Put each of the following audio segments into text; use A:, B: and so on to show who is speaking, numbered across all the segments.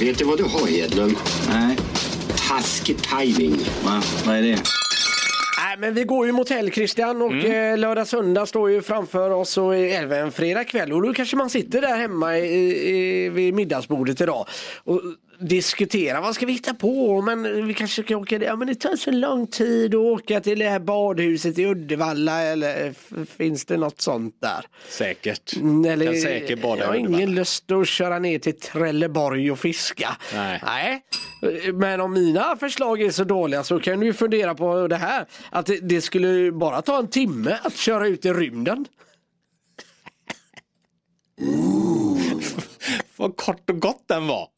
A: Vet du vad du har Hedlund?
B: Nej,
A: Taskig tajming.
B: va? Vad är det?
C: Nej, men vi går ju mot helg Christian och eh, lördag söndag står ju framför oss och även fredag kväll och då kanske man sitter där hemma i, i, vid middagsbordet idag och diskuterar vad ska vi hitta på men vi kanske ska åka ja, men det tar så lång tid att åka till det här badhuset i Uddevalla eller eh, f- finns det något sånt där?
D: Säkert.
C: Mm, Eller,
D: kan säkert bada
C: jag har
D: i Uddevalla.
C: ingen lust att köra ner till Trelleborg och fiska.
D: Nej.
C: Men om mina förslag är så dåliga så kan du ju fundera på det här. Att det, det skulle bara ta en timme att köra ut i rymden.
D: Vad kort och gott den var.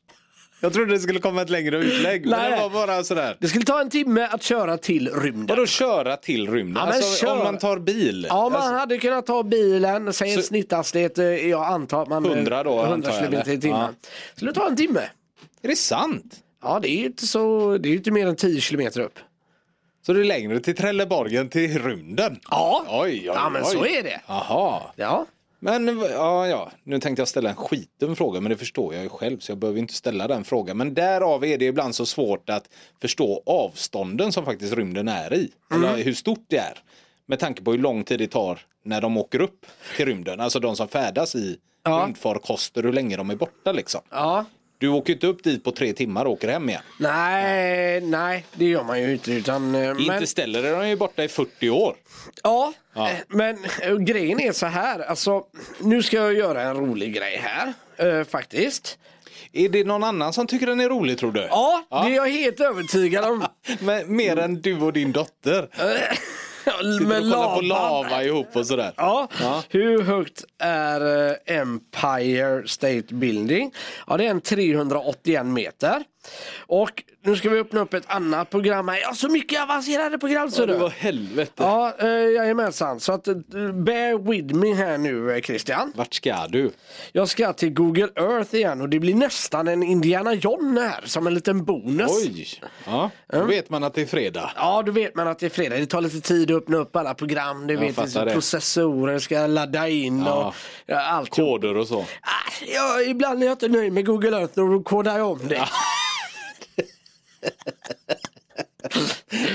D: Jag trodde det skulle komma ett längre utlägg.
C: Nej.
D: Men det var bara sådär.
C: Det skulle ta en timme att köra till rymden.
D: Vadå köra till rymden?
C: Ja, men
D: alltså,
C: kör.
D: Om man tar bil.
C: Ja, man
D: Alltså,
C: hade kunnat ta bilen, säg en
D: Så-
C: snitthastighet, eh, jag antar att man... eh,
D: 100 då, antar
C: 100
D: jag,
C: kilometer i
D: eller?
C: timmen. Skulle ta en timme.
D: är det sant?
C: Ja, det är ju inte, så, det är ju inte mer än 10 kilometer upp.
D: Så det är längre till Trelleborg än till rymden?
C: Ja,
D: Oj, oj,
C: ja men
D: oj.
C: så är det.
D: Jaha.
C: Ja.
D: Men ja, ja, nu tänkte jag ställa en skitdum fråga, men det förstår jag ju själv så jag behöver inte ställa den frågan. Men därav är det ibland så svårt att förstå avstånden som faktiskt rymden är i.
C: Mm.
D: Eller hur stort det är. Med tanke på hur lång tid det tar när de åker upp till rymden. Alltså de som färdas i
C: Ja.
D: rymdfarkoster, hur länge de är borta liksom.
C: ja.
D: Du åker ju inte upp dit på tre timmar och åker hem igen.
C: Nej, nej, det gör man ju inte. Utan, eh, men,
D: Inte ställer de är ju borta i 40 år.
C: ja,
D: Ja.
C: eh, men eh, grejen är så här. Alltså, nu ska jag göra en rolig grej här. eh, faktiskt.
D: Är det någon annan som tycker den är rolig tror du?
C: Ja, det är jag helt övertygad om.
D: Men mer än du och din dotter.
C: Med
D: Sitter och kollar på
C: lavan.
D: lava ihop och sådär.
C: Ja. Hur högt är eh, Empire State Building? Ja, det är en 381 meter. Och nu ska vi öppna upp ett annat program här. Ja, så mycket avancerade program så du.
D: helvete.
C: Ja, eh, jajamensan. Så att, eh, bear with me här nu eh, Christian.
D: Vart ska du?
C: Jag ska till Google Earth igen och det blir nästan en Indiana John här som en liten bonus.
D: Oj! Ja, då vet man att det är fredag.
C: Ja, då vet man att det är fredag. Det tar lite tid att öppna upp alla program. Du vet,
D: fattar det.
C: processorer ska ladda in och
D: Ja.
C: ja, allt.
D: Koder och så.
C: Ah, ja, ibland är jag inte nöjd med Google Earth och då kodar jag om det.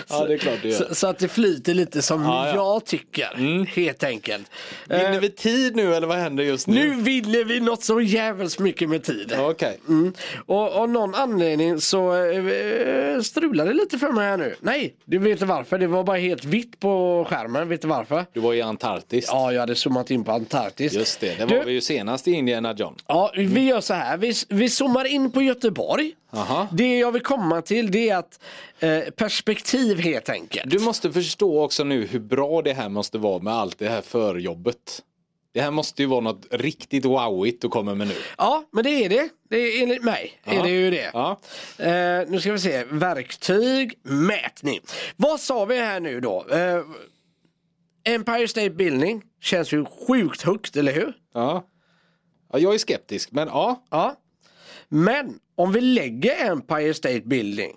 D: Ja, det är klart du
C: Så, så att det flyter lite som
D: Ja, Mm. ja.
C: jag tycker, helt enkelt.
D: Vinner vi tid nu eller vad händer just nu?
C: eh, Nu vinner vi något så jävligt mycket med tid.
D: Ja, Okej.
C: Mm. Och av någon anledning så eh, strulade det lite för mig här nu. Nej, du vet inte varför. Det var bara helt vitt på skärmen. Vet du varför?
D: Du var i Antarktis.
C: Ja, jag hade zoomat in på Antarktis.
D: Just det, det var
C: du,
D: vi ju senast i Indiana John.
C: Ja, vi gör så här. Vi, vi zoomar in på Göteborg.
D: Aha.
C: Det jag vill komma till det är att eh, perspektiv helt enkelt.
D: Du måste förstå också nu hur bra det här måste vara med allt det här förjobbet. Det här måste ju vara något riktigt wowigt du kommer med nu.
C: Ja, men det är det. det är, enligt mig är
D: Ja.
C: det ju det.
D: Ja.
C: Eh, nu ska vi se. Verktyg, mätning. Vad sa vi här nu då? Eh, Empire State Building känns ju sjukt högt, eller hur?
D: Ja. ja, jag är skeptisk men ja.
C: Ja. Men om vi lägger Empire State Building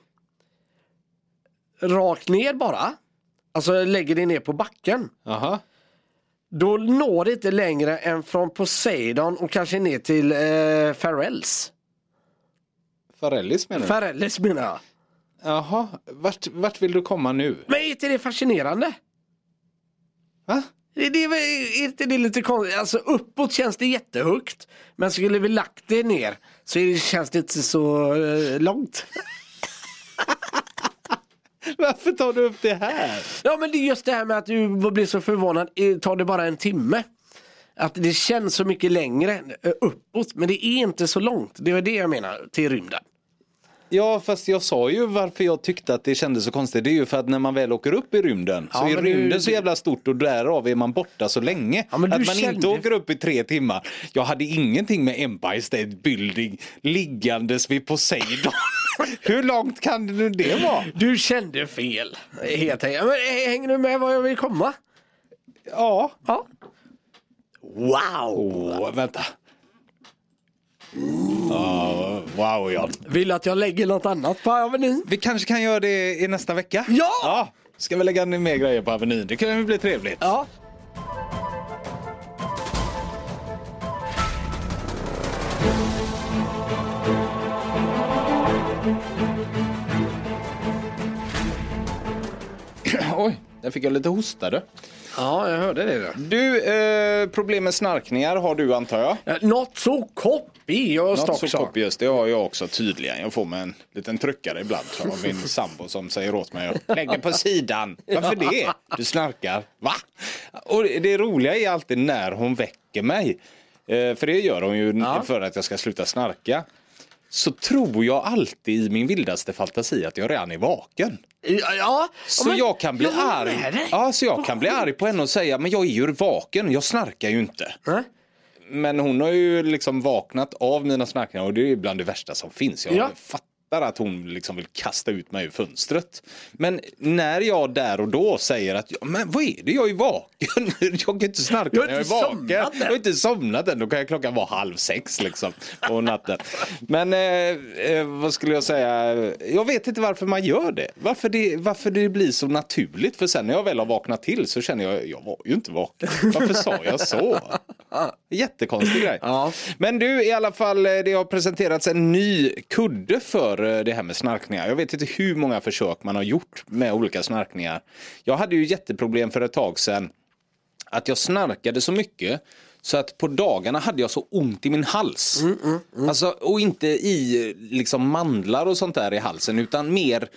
C: rakt ner bara, alltså lägger det ner på backen,
D: Aha.
C: då når det inte längre än från Poseidon och kanske ner till eh, Farrells.
D: Farellis menar du?
C: Farrells menar jag.
D: Jaha, vart, vart vill du komma nu?
C: Men är inte det fascinerande?
D: Va?
C: Det, det är väl är inte det lite konstigt? Alltså uppåt känns det jättehögt. Men skulle vi lagt det ner så är det, känns det inte så eh, långt.
D: Varför tar du upp det här?
C: Ja men det är just det här med att du blir så förvånad. Eh, Tar det bara en timme? Att det känns så mycket längre eh, uppåt men det är inte så långt. Det var det jag menar till rymden.
D: Ja, fast jag sa ju varför jag tyckte att det kändes så konstigt. Det är ju för att när man väl åker upp i rymden
C: Ja,
D: så är
C: men det är ju-
D: rymden så jävla stort och därav är man borta så länge.
C: Ja, men du
D: att man
C: kände-
D: inte åker upp i tre timmar. Jag hade ingenting med Empire State Building liggandes vid Poseidon. Hur långt kan nu det vara?
C: Du kände fel. Helt enkelt. Men, eh, hänger du med var jag vill komma?
D: Ja.
C: Ja. Wow!
D: Åh, vänta. Ja, wow, John.
C: Vill du att jag lägger något annat på Avenyn?
D: Vi kanske kan göra det i nästa vecka?
C: Ja!
D: Ska vi lägga ner mer grejer på Avenyn? Det kan ju bli trevligt.
C: Ja.
D: Där fick jag lite hostade.
C: Ja, jag hörde det. Där.
D: Du, eh, problem med snarkningar har du antar jag?
C: Ja, Not so copy och
D: Något så
C: stock
D: kopiöst, det har jag också tydligen. Jag får mig en liten tryckare ibland från min sambo som säger åt mig att lägga på sidan. Varför det? Du snarkar. Va? Och det roliga är alltid när hon väcker mig. Eh, För det gör hon ju
C: Ja.
D: för att jag ska sluta snarka. Så tror jag alltid i min vildaste fantasi att jag redan är vaken.
C: Ja, ja.
D: Så
C: men-
D: jag kan bli
C: håller
D: arg.
C: med dig.
D: Ja, så jag kan bli arg på henne och säga men jag är ju vaken, jag snarkar ju inte.
C: Nej.
D: Men hon har ju liksom vaknat av mina snarkningar och det är ju bland det värsta som finns. Jag
C: Ja.
D: fattar att hon liksom vill kasta ut mig ur fönstret. Men när jag där och då säger att "Ja, men vad är det, jag är vaken. Jag kan inte snarka
C: Jag har
D: när jag är
C: inte
D: vaken.
C: somnat än.
D: Jag har inte somnat än. Då kan jag klockan vara halv sex liksom på natten. Men eh, eh, vad skulle jag säga? Jag vet inte varför man gör det. Varför det, varför det blir så naturligt. För sen när jag väl har vaknat till så känner jag, jag var ju inte vaken. Varför sa jag så? Jättekonstig grej.
C: Ja.
D: Men du, i alla fall, eh, det har presenterats en ny kudde för eh, det här med snarkningar. Jag vet inte hur många försök man har gjort med olika snarkningar. Jag hade ju jätteproblem för ett tag sedan att jag snarkade så mycket så att på dagarna hade jag så ont i min hals.
C: Mm,
D: Alltså, och inte i eh, liksom mandlar och sånt där i halsen utan mer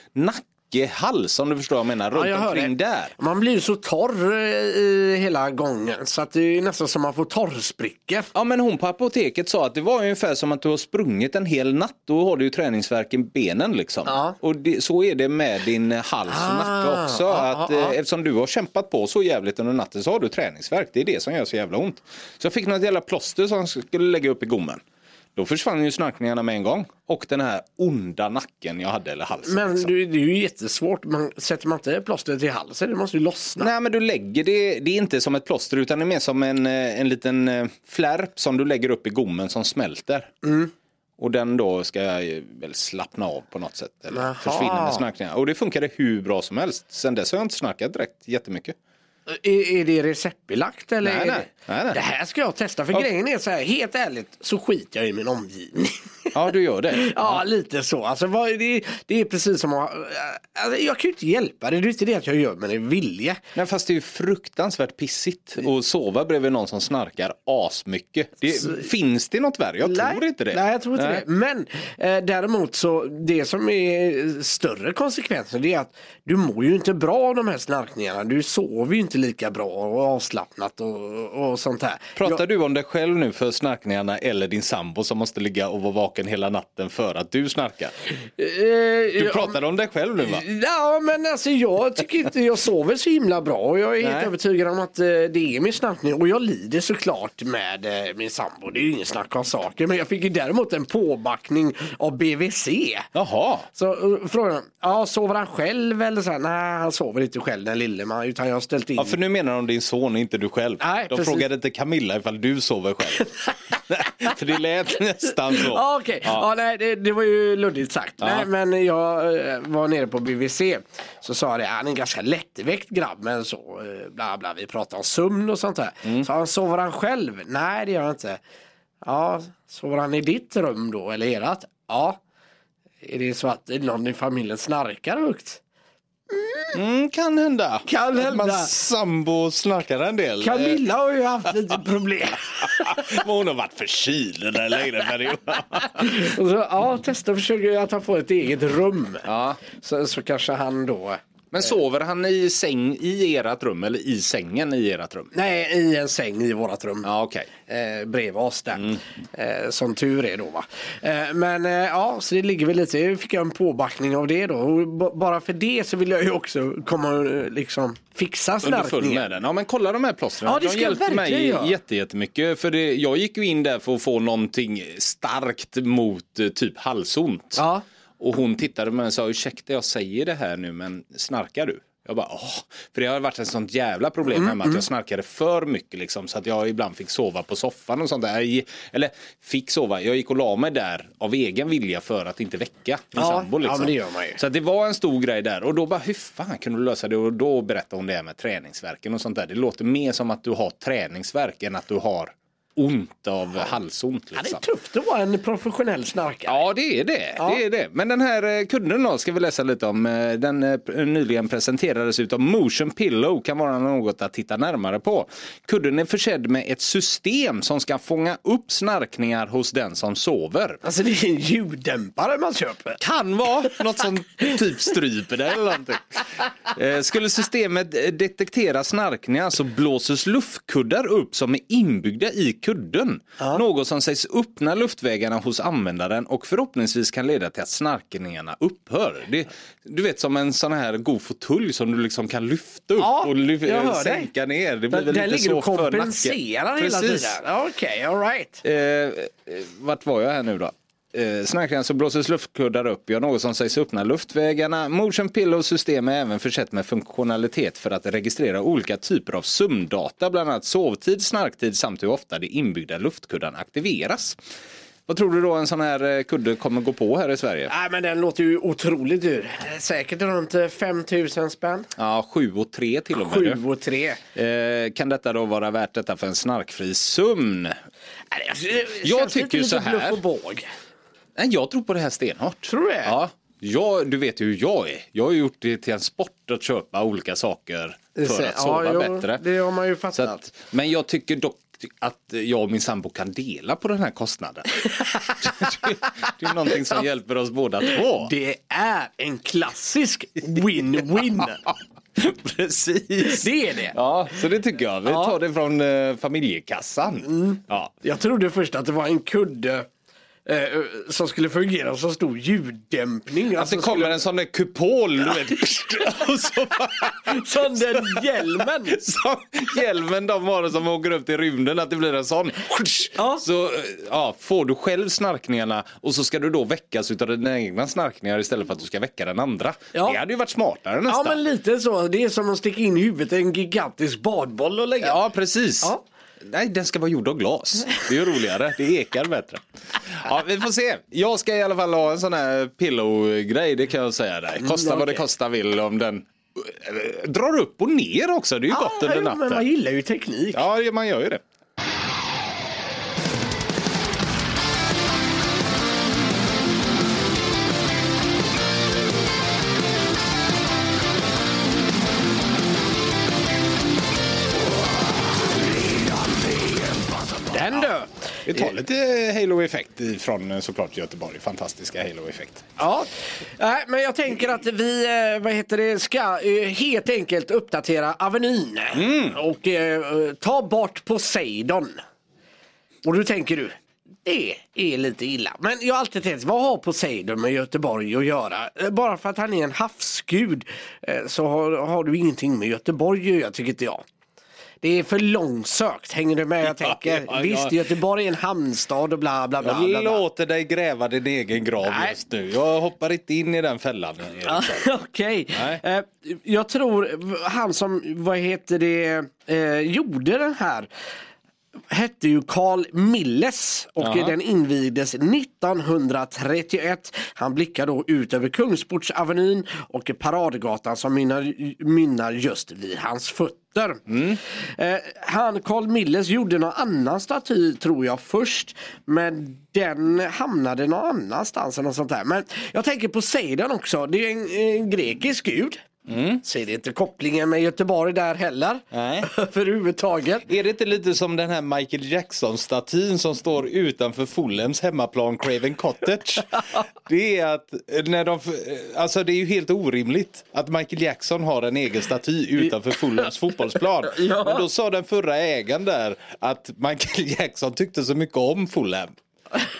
D: nackehals om du förstår vad jag menar. Runt
C: Ja, jag hör
D: omkring
C: det.
D: där.
C: Man blir ju så torr eh, i hela gången så att det är nästan som man får torrsprickor.
D: Ja men hon på apoteket sa att det var ungefär som att du har sprungit en hel natt. Då har du ju träningsvärk i benen liksom.
C: Ja.
D: Och det, så är det med din eh, hals och
C: Ah,
D: nacke också.
C: ah,
D: att,
C: ah,
D: eh,
C: ah.
D: Eftersom du har kämpat på så jävligt under natten så har du träningsvärk. Det är det som gör så jävla ont. Så jag fick något jävla plåster som jag skulle lägga upp i gommen. Då försvann ju snarkningarna med en gång. Och den här onda nacken jag hade eller halsen.
C: Men
D: liksom.
C: du, det är ju jättesvårt. Man, sätter man inte plåstret i halsen, det måste ju lossna.
D: Nej men du lägger det, det är inte som ett plåster utan det är mer som en, eh, en liten eh, flärp som du lägger upp i gommen som smälter.
C: Mm.
D: Och den då ska eh, väl slappna av på något sätt eller
C: Jaha.
D: försvinna med snarkningar. Och det funkade hur bra som helst. Sen dess har jag inte snarkat direkt jättemycket.
C: Eh, Är, är det receptbelagt eller?
D: Nej,
C: är
D: nej.
C: Det?
D: Nej, nej.
C: det här ska jag testa för
D: Ja.
C: grejen är så här, helt ärligt så skiter jag i min omgivning.
D: Ja du gör det.
C: Ja, lite så. Alltså, vad, det, det är precis som att... Alltså, jag kan ju inte hjälpa det. Det är ju inte det att jag gör men det är vilja.
D: Nej, fast det är ju fruktansvärt pissigt
C: Mm.
D: att sova bredvid någon som snarkar asmycket. Det, finns det något värre? Jag tror inte det.
C: Nej, jag tror inte det. Men eh, däremot så, det som är större konsekvenser det är att du mår ju inte bra av de här snarkningarna. Du sover ju inte lika bra och avslappnat och, och sånt här.
D: Pratar du om dig själv nu för snarkningarna eller din sambo som måste ligga och vara vaken hela natten för att du snarkar?
C: du
D: Du pratar Eh, om dig själv nu va?
C: Ja men alltså jag tycker inte jag sover så himla bra och jag är helt
D: Nej.
C: övertygad om att eh, det är min snackning och jag lider såklart med eh, min sambo. Det är ju ingen snack om saker men jag fick ju däremot en påbackning av BVC.
D: Jaha,
C: Så eh, frågan, ja sover han själv eller så här? Nej han sover inte själv den lille man utan jag har ställt in.
D: ja, för nu menar de din son och inte du själv.
C: Nej,
D: de
C: precis.
D: frågade inte Camilla ifall du sover själv. för det lät nästan så.
C: Ja, okej. Ja. nej, det, det var ju luddigt sagt.
D: Ja.
C: Nej, men jag eh, var nere på BVC. Så sa jag det, han är en ganska lättväckt grabb men så eh, bla bla. Vi pratade om sömn och sånt där.
D: Mm.
C: Så han sover han själv? Nej det gör han inte. Ja, sover han i ditt rum då eller erat? Ja. Är det så att någon i familjen snarkar högt?
D: Mm, kan hända.
C: Kan
D: Att
C: hända.
D: Man sambo snarkar en del. Eh,
C: Camilla har ju haft lite problem.
D: Men hon har varit förkyld den där längre perioden.
C: Och så, ja, testa och försöka att han får ett eget rum.
D: ja.
C: Så, så kanske han då
D: Men sover han i säng i ert rum eller i sängen i ert rum?
C: Nej, i en säng i vårt rum.
D: Ja okej.
C: eh, bredvid oss där.
D: Mm.
C: Eh, som tur är då va. Eh, men eh, ja, så det ligger väl lite, jag fick jag en påbackning av det då. Och b- bara för det så vill jag ju också komma och eh, liksom fixa
D: under full
C: snarkningen.
D: med den. Ja men kolla de här plåstren.
C: Ja, det
D: de
C: ska jag
D: hjälpte mig
C: verkligen göra.
D: jätte, jättemycket. För det, jag gick ju in där för att få någonting starkt mot eh, typ halsont.
C: Ja.
D: Och hon tittade på mig och sa ursäkta jag säger det här nu men snarkar du? Jag bara åh. För det har varit ett sånt jävla problem
C: Mm,
D: hemma att jag snarkade för mycket liksom så att jag ibland fick sova på soffan och sånt där. Jag gi- Eller fick sova, jag gick och la mig där av egen vilja för att inte väcka min
C: Ja,
D: sambo.
C: ja,
D: Liksom.
C: men det gör man ju.
D: Så att det var en stor grej där och då bara hur fan kunde du lösa det? Och då berättade hon det här med träningsverken och sånt där. Det låter mer som att du har träningsverk än att du har ont av halsont.
C: Ja, det är
D: Liksom.
C: tufft att vara en professionell snarkare.
D: Ja, det är det.
C: Ja.
D: det är det. Men den här eh, kunden då ska vi läsa lite om. Eh, Den eh, pr- nyligen presenterades utav Motion Pillow kan vara något att titta närmare på. Kudden är försedd med ett system som ska fånga upp snarkningar hos den som sover.
C: Alltså det är en ljuddämpare man köper.
D: Kan vara något som typ stryper dig eller någonting. Eh, Skulle systemet eh, detektera snarkningar så blåses luftkuddar upp som är inbyggda i kudden. Något som sägs öppna luftvägarna hos användaren och förhoppningsvis kan leda till att snarkningarna upphör. Det, du vet som en sån här god fåtölj som du liksom kan lyfta upp
C: Ja,
D: och lyf- eh,
C: jag hör dig.
D: sänka ner. Det blir
C: Där,
D: väl
C: där
D: lite
C: ligger
D: så
C: du och
D: för nacken.
C: kompenserar hela
D: Precis.
C: tiden. Ja, Okej, all alright.
D: Eh, eh, vart var jag här nu då? Eh, Snarkaren så blåses luftkuddar upp, gör något som sägs öppna luftvägarna. Motion Pillow system är även försett med funktionalitet för att registrera olika typer av sömndata, bland annat sovtid, snarktid samt hur ofta de inbyggda luftkuddarna aktiveras. Vad tror du då en sån här eh, kudde kommer gå på här i Sverige?
C: Nej men den låter ju otroligt dyr. Säkert runt eh, 5000 spänn.
D: Ja, 7 och 3 till och med. du.
C: 7 och 3.
D: Eh, kan detta då vara värt detta för en snarkfri sömn? Eh, Jag tycker ju så här.
C: Och båg.
D: Nej, jag tror på det här stenhårt.
C: Tror du det?
D: Ja. Jag, du vet ju hur jag är. Jag har ju gjort det till en sport att köpa olika saker för att sova
C: jo,
D: bättre.
C: Det har man ju
D: Så
C: fattat.
D: att, men jag tycker dock att jag och min sambo kan dela på den här kostnaden. det, det är någonting som hjälper oss båda två.
C: Det är en klassisk win-win.
D: Precis.
C: det är det.
D: Ja, Mm. så det tycker jag. Vi
C: Ja.
D: tar det från eh, familjekassan. Ja.
C: Jag trodde först att det var en kudde eh, som skulle fungera som stor ljuddämpning.
D: Att det
C: Alltså,
D: kommer en sån där kupol, du vet. Och så bara...
C: som den hjälmen.
D: som hjälmen de har som åker upp till rymden, att det blir en sån.
C: Ja.
D: Så eh, ja, får du själv snarkningarna och så ska du då väckas utav dina egna snarkningar istället för att du ska väcka den andra.
C: Ja.
D: Det hade ju varit smartare nästan.
C: Ja men lite så. Det är som att sticka in huvudet i en gigantisk badboll och lägga.
D: Ja, precis.
C: Ja.
D: Nej, den ska vara gjord av glas. Det är ju roligare. Det ekar bättre. Ja, vi får se. Jag ska i alla fall ha en sån här pillow-grej, det kan jag säga dig. Kosta vad det
C: Mm, okej.
D: kosta vill om den eh, drar upp och ner också. Det är ju gott under
C: jo,
D: natten.
C: Ah, men man gillar ju teknik.
D: Ja, det- man gör ju det.
C: Den du.
D: Vi tar lite Halo-effekt från såklart Göteborg. Fantastiska Halo-effekt.
C: Ja, nej, men jag tänker att vi eh, vad heter det, ska eh, helt enkelt uppdatera Avenyn
D: Mm.
C: och eh, ta bort Poseidon. Och då tänker du, det är lite illa. Men jag har alltid tänkt, vad har Poseidon med Göteborg att göra? Eh, Bara för att han är en havsgud eh, så har, har du ingenting med Göteborg att göra, tycker inte jag. Det är för långsökt, hänger du med? Jag
D: Ja,
C: tänker,
D: ja, ja.
C: Visst, Göteborg är en hamnstad och bla bla bla. bla,
D: Jag
C: bla.
D: låter dig gräva din egen grav
C: Nej.
D: just nu. Jag hoppar inte in i den fällan. Erik.
C: Ja, Okej.
D: Nej.
C: Eh, jag tror han som, vad heter det, eh, gjorde den här hette ju Carl Milles och
D: Jaha.
C: den invigdes 1931. Han blickar då ut över Kungsportsavenyn och paradgatan som mynnar, mynnar just vid hans fötter. Eh, han Carl Milles gjorde någon annan staty tror jag först men den hamnade någon annanstans eller något sånt där. Men jag tänker på Poseidon också, det är ju en, en grekisk gud. Ser det inte kopplingen med Göteborg där heller.
D: Nej.
C: Överhuvudtaget.
D: Är det inte lite som den här Michael Jackson-statyn som står utanför Fulhams hemmaplan Craven Cottage? Det är att eh, när de... Alltså det är ju helt orimligt att Michael Jackson har en egen staty utanför Fulhams fotbollsplan.
C: Ja.
D: Men då sa den förra ägaren där att Michael Jackson tyckte så mycket om Fulham.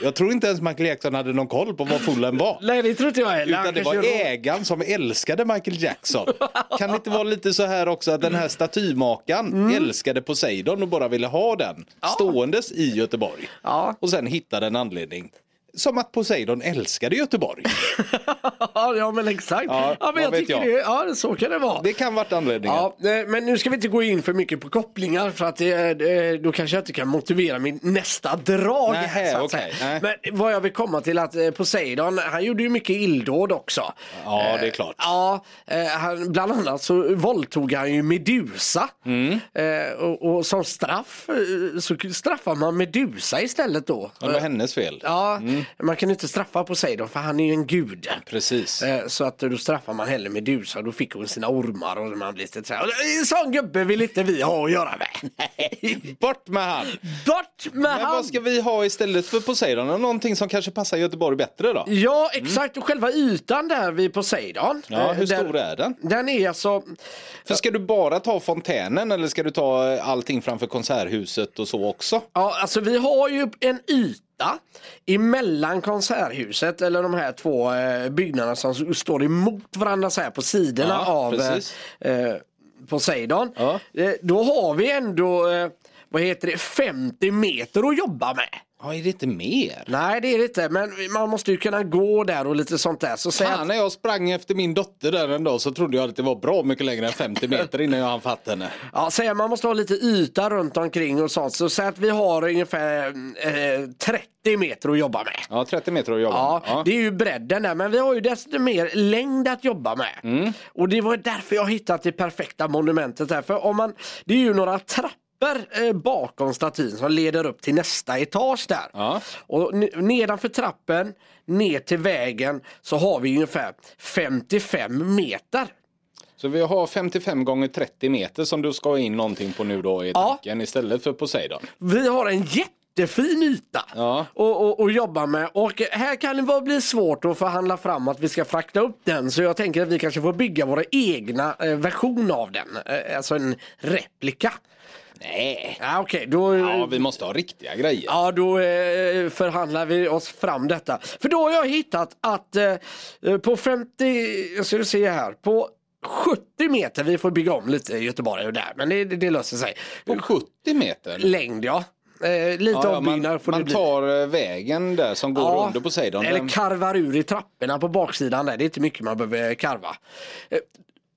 D: Jag tror inte ens Michael Jackson hade någon koll på vad Fulham var.
C: Nej det tror inte jag heller.
D: Utan det
C: Han
D: var
C: kanske-
D: ägaren som älskade Michael Jackson. Kan det inte vara lite så här också att den här statymakaren
C: Mm.
D: älskade Poseidon och bara ville ha den ståendes i Göteborg.
C: Ja.
D: Och sen hittade en anledning Som att Poseidon älskade Göteborg.
C: ja men exakt. Ja,
D: Ja,
C: men
D: vad
C: jag
D: vet
C: tycker
D: jag?
C: Det, ja, så kan det vara.
D: Det kan varit anledningen.
C: Ja, eh, men nu ska vi inte gå in för mycket på kopplingar för att det, är- eh, då kanske jag inte kan motivera min nästa drag.
D: Nähä,
C: här, så att
D: okej,
C: säga.
D: nej.
C: Men vad jag vill komma till att eh, Poseidon, han gjorde ju mycket illdåd också.
D: Ja,
C: Eh,
D: det är klart.
C: Ja, eh, han, bland annat så våldtog han ju Medusa.
D: Mm.
C: Eh, och, och som straff eh, så straffar man Medusa istället då.
D: Det var hennes fel.
C: Eh. Ja, man kan ju inte straffa Poseidon för han är ju en gud.
D: Mm. Precis.
C: Eh, Så att då straffar man hellre Medusa, då fick hon sina ormar och man blir lite så här, "En sån gubbe vill inte vi ha att göra med.
D: Bort med han!
C: Bort med
D: Men
C: han!
D: vad ska vi ha istället för Poseidon? Någonting som kanske passar Göteborg bättre då?
C: Ja exakt, och själva ytan där vid Poseidon.
D: Mm. Ja,
C: eh,
D: hur
C: den-
D: stor är den?
C: Den är alltså,
D: För ska du bara ta fontänen eller ska du ta eh, allting framför konserthuset och så också?
C: ja alltså vi har ju en yta emellan konserthuset eller de här två eh, byggnaderna som s- står emot varandra så här på sidorna
D: Ja,
C: av eh,
D: precis.
C: eh, Poseidon.
D: Ja.
C: Eh, Då har vi ändå, eh, vad heter det, 50 meter att jobba med.
D: Ja, är det inte mer?
C: Nej det är det inte, men man måste ju kunna gå där och lite sånt där. Så säg
D: Fan,
C: att,
D: när jag sprang efter min dotter där en dag så trodde jag att det var bra mycket längre än 50 meter innan jag hann fatta henne.
C: ja, säg att man måste ha lite yta runt omkring och sånt. Så säg att vi har ungefär eh, 30 meter att jobba med.
D: Ja, 30 meter att jobba
C: Ja,
D: med.
C: det är ju bredden där, men vi har ju desto mer längd att jobba med.
D: Mm.
C: Och det var därför jag hittat det perfekta monumentet här. För om man, det är ju några trappor eh, bakom statyn som leder upp till nästa etage där.
D: Ja.
C: Och n- nedanför trappen, ner till vägen, så har vi ungefär 55 meter.
D: Så vi har 55 gånger 30 meter som du ska ha in någonting på nu då i
C: Ja.
D: tanken istället för Poseidon.
C: Vi har en jättefin yta
D: Ja.
C: och, och, och jobba med och här kan det bara bli svårt att förhandla fram att vi ska frakta upp den så jag tänker att vi kanske får bygga våra egna eh, version av den, eh, alltså en replika.
D: Nej.
C: Ja, Okej, då,
D: Ja, vi måste ha riktiga grejer.
C: ja, då eh, förhandlar vi oss fram detta. För då har jag hittat att eh, eh, på 50, jag ska se här, på 70 meter, vi får bygga om lite i Göteborg och där, men det, det löser sig.
D: På 70 meter?
C: Längd ja. Eh, lite
D: Ja, ja,
C: ombyggnad
D: man
C: får det
D: man
C: bli.
D: tar eh, vägen där som går
C: Ja,
D: under Poseidon.
C: Eller
D: Den-
C: karvar ur i trapporna på baksidan där. Det är inte mycket man behöver karva. Eh,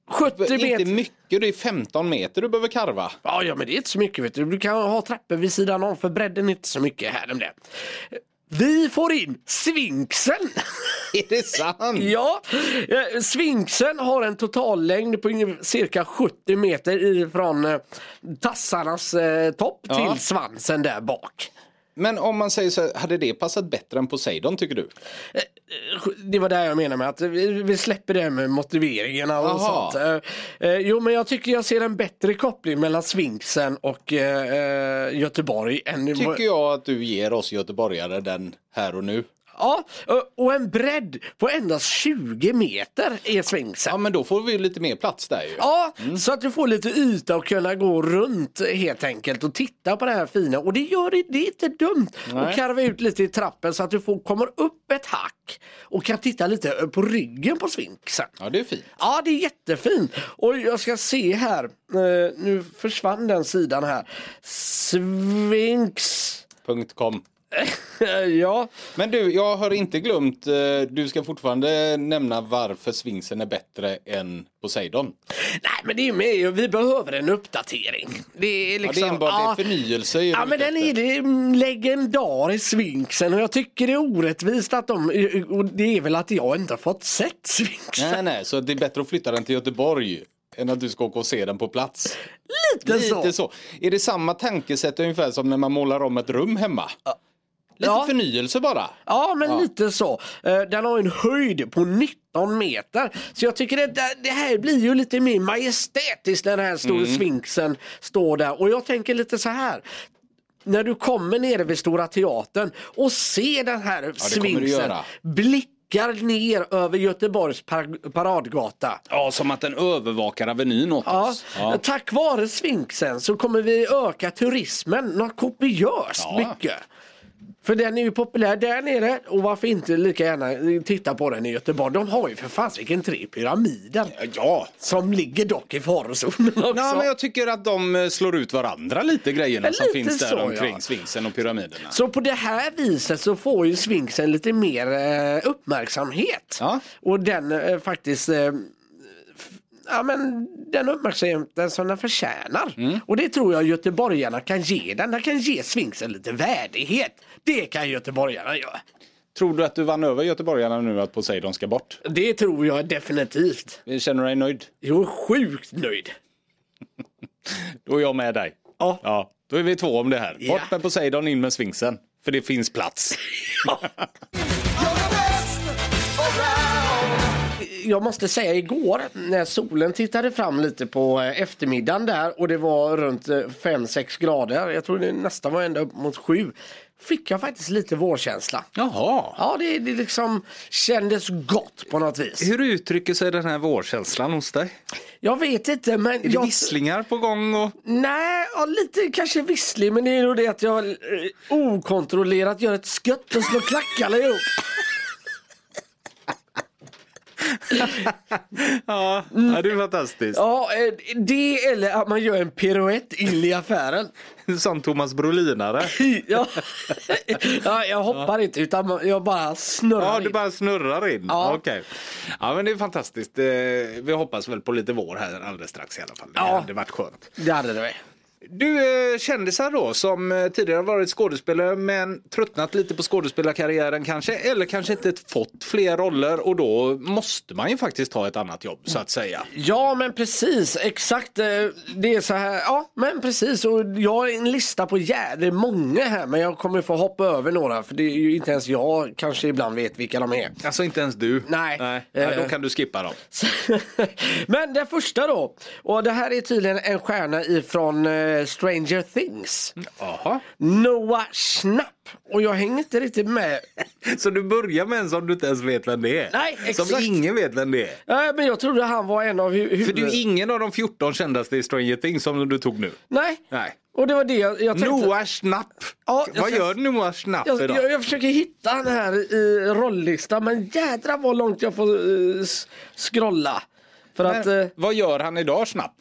C: 70
D: Inte
C: meter.
D: mycket, det är 15 meter du behöver karva.
C: Ja, ja, men det är inte så mycket vet du. Du kan ha trappor vid sidan om för bredden är inte så mycket här. om Det. Eh, Vi får in Svinksen!
D: Är det sant?
C: ja, eh, Svinksen har en totallängd på ungefär- cirka 70 meter ifrån eh, tassarnas eh, topp
D: Ja.
C: till svansen där bak.
D: Men om man säger så här, hade det passat bättre än Poseidon tycker du?
C: Eh, Det var det jag menade med att vi vi släpper det här med motiveringarna och
D: Jaha.
C: sånt. Eh, eh, Jo men jag tycker jag ser en bättre koppling mellan Svinksen och eh, eh, Göteborg. Än
D: Tycker jag att du ger oss göteborgare den här och nu.
C: Ja, och- och en bredd på endast 20 meter är Svinksen.
D: Ja Mm. men då får vi ju lite mer plats där ju.
C: Ja, så att du får lite yta och kunna gå runt helt enkelt och titta på det här fina. Och det gör det, det är inte dumt att
D: Nej.
C: karva ut lite i trappen så att du får, kommer upp ett hack och kan titta lite på ryggen på Svinksen.
D: Ja det är fint.
C: Ja, det är jättefint. Och jag ska se här. Eh, nu försvann den sidan här. Sphinx.
D: Punkt kom.
C: ja,
D: Men du, jag har inte glömt, eh, du ska fortfarande nämna varför Sfinksen är bättre än Poseidon.
C: nej men det är med ju. Vi behöver en uppdatering. Det är
D: Ja,
C: liksom...
D: det är enbart
C: ja.
D: det är förnyelse. är
C: Ja
D: du
C: men
D: ute
C: den
D: efter.
C: är det är legendarisk Sfinksen och jag tycker det är orättvist att de, och det är väl att jag inte har fått sett Sfinksen.
D: Nej, nej, så det är bättre att flytta den till Göteborg än att du ska åka och se den på plats.
C: Lite så.
D: Lite så. Är det samma tankesätt ungefär som när man målar om ett rum hemma? Lite
C: Ja.
D: förnyelse bara.
C: Ja, men lite så. Eh, Den har en höjd på 19 meter. Så jag tycker att det- det här blir ju lite mer majestätiskt när den här stora
D: Mm.
C: sfinxen står där. Och jag tänker lite så här. När du kommer nere vid Stora Teatern och ser den här
D: kommer du
C: sfinxen
D: göra.
C: blickar ner över Göteborgs par- paradgata.
D: Ja, som att den övervakar Avenyn åt
C: Ja. Tack vare sfinxen så kommer vi öka turismen något kopiöst
D: Ja.
C: mycket. För den är ju populär där nere och varför inte lika gärna titta på den i Göteborg. De har ju för fasiken tre pyramider.
D: Ja.
C: Som ligger dock i farozonen också.
D: Nej, men jag tycker att de eh, slår ut varandra lite grejerna
C: Ja,
D: som
C: lite
D: finns där
C: så, ja.
D: omkring Sphinxen och pyramiderna.
C: Så på det här viset så får ju Sphinxen lite mer eh, uppmärksamhet.
D: Ja.
C: Och den eh, faktiskt eh, f- Ja men den uppmärksamheten som den förtjänar. Och det tror jag göteborgarna kan ge den. Den kan ge Sphinxen lite värdighet. Det kan göteborgarna göra.
D: Tror du att du vann över göteborgarna nu att Poseidon ska bort?
C: Det tror jag definitivt.
D: Känner du dig nöjd?
C: Jag är sjukt nöjd.
D: Då är jag med dig.
C: Ja.
D: Ja, då är vi två om det här.
C: Ja.
D: Bort med Poseidon, in med Sphinxen. För det finns plats.
C: Jag måste säga igår när solen tittade fram lite på eh, eftermiddagen där och det var runt 5-6 grader. Jag tror det nästan var ända upp mot 7. Fick jag faktiskt lite vårkänsla.
D: Jaha.
C: Ja, det, det liksom kändes gott på något vis.
D: Hur uttrycker sig den här vårkänslan hos dig?
C: Jag vet inte, men...
D: Är det
C: jag...
D: visslingar på gång? Och...
C: Nej, ja, lite kanske visslig, men det är nog det att jag eh, okontrollerat gör ett skött och slår klackarna ihop.
D: Ja, det är fantastiskt.
C: Ja, eh, det eller att man gör en piruett in i affären.
D: Som Thomas Brolinare.
C: ja. ja, jag hoppar inte utan jag bara snurrar
D: Ja,
C: in.
D: du bara snurrar in.
C: Ja.
D: Ja. Okej. Ja, men det är fantastiskt. Eh, Vi hoppas väl på lite vår här alldeles strax i alla fall. Det
C: Ja.
D: hade varit skönt.
C: Det hade det.
D: Du, eh, kändisar då som eh, tidigare varit skådespelare men tröttnat lite på skådespelarkarriären kanske eller kanske inte fått fler roller och då måste man ju faktiskt ta ett annat jobb så att säga.
C: Ja men precis, exakt. eh, Det är så här, ja men precis. Och jag har en lista på jävligt många här men jag kommer få hoppa över några för det är ju inte ens jag kanske ibland vet vilka de är.
D: Alltså inte ens du.
C: Nej.
D: Nej. Nej,
C: Eh.
D: då kan du skippa dem.
C: men den första då, och det här är tydligen en stjärna ifrån eh, Stranger Things.
D: Jaha.
C: Noah Schnapp. Och jag hänger inte riktigt med
D: Så du börjar med en som du inte ens vet vem det är?
C: Nej,
D: Som
C: exakt.
D: ingen vet vem det är.
C: Nej, men jag trodde han var en av hu- huvud...
D: För det är ju ingen av de 14 kändaste i Stranger Things som du tog nu.
C: Nej.
D: Nej.
C: Och det var det jag, jag tänkte.
D: Noah Schnapp.
C: Ja, jag
D: Vad
C: känns-
D: gör Noah Schnapp
C: Jag,
D: idag?
C: jag, jag försöker hitta han här i rolllistan men jädra vad långt jag får eh, s- scrolla. För att,
D: Men,
C: eh,
D: Vad gör han idag Schnapp?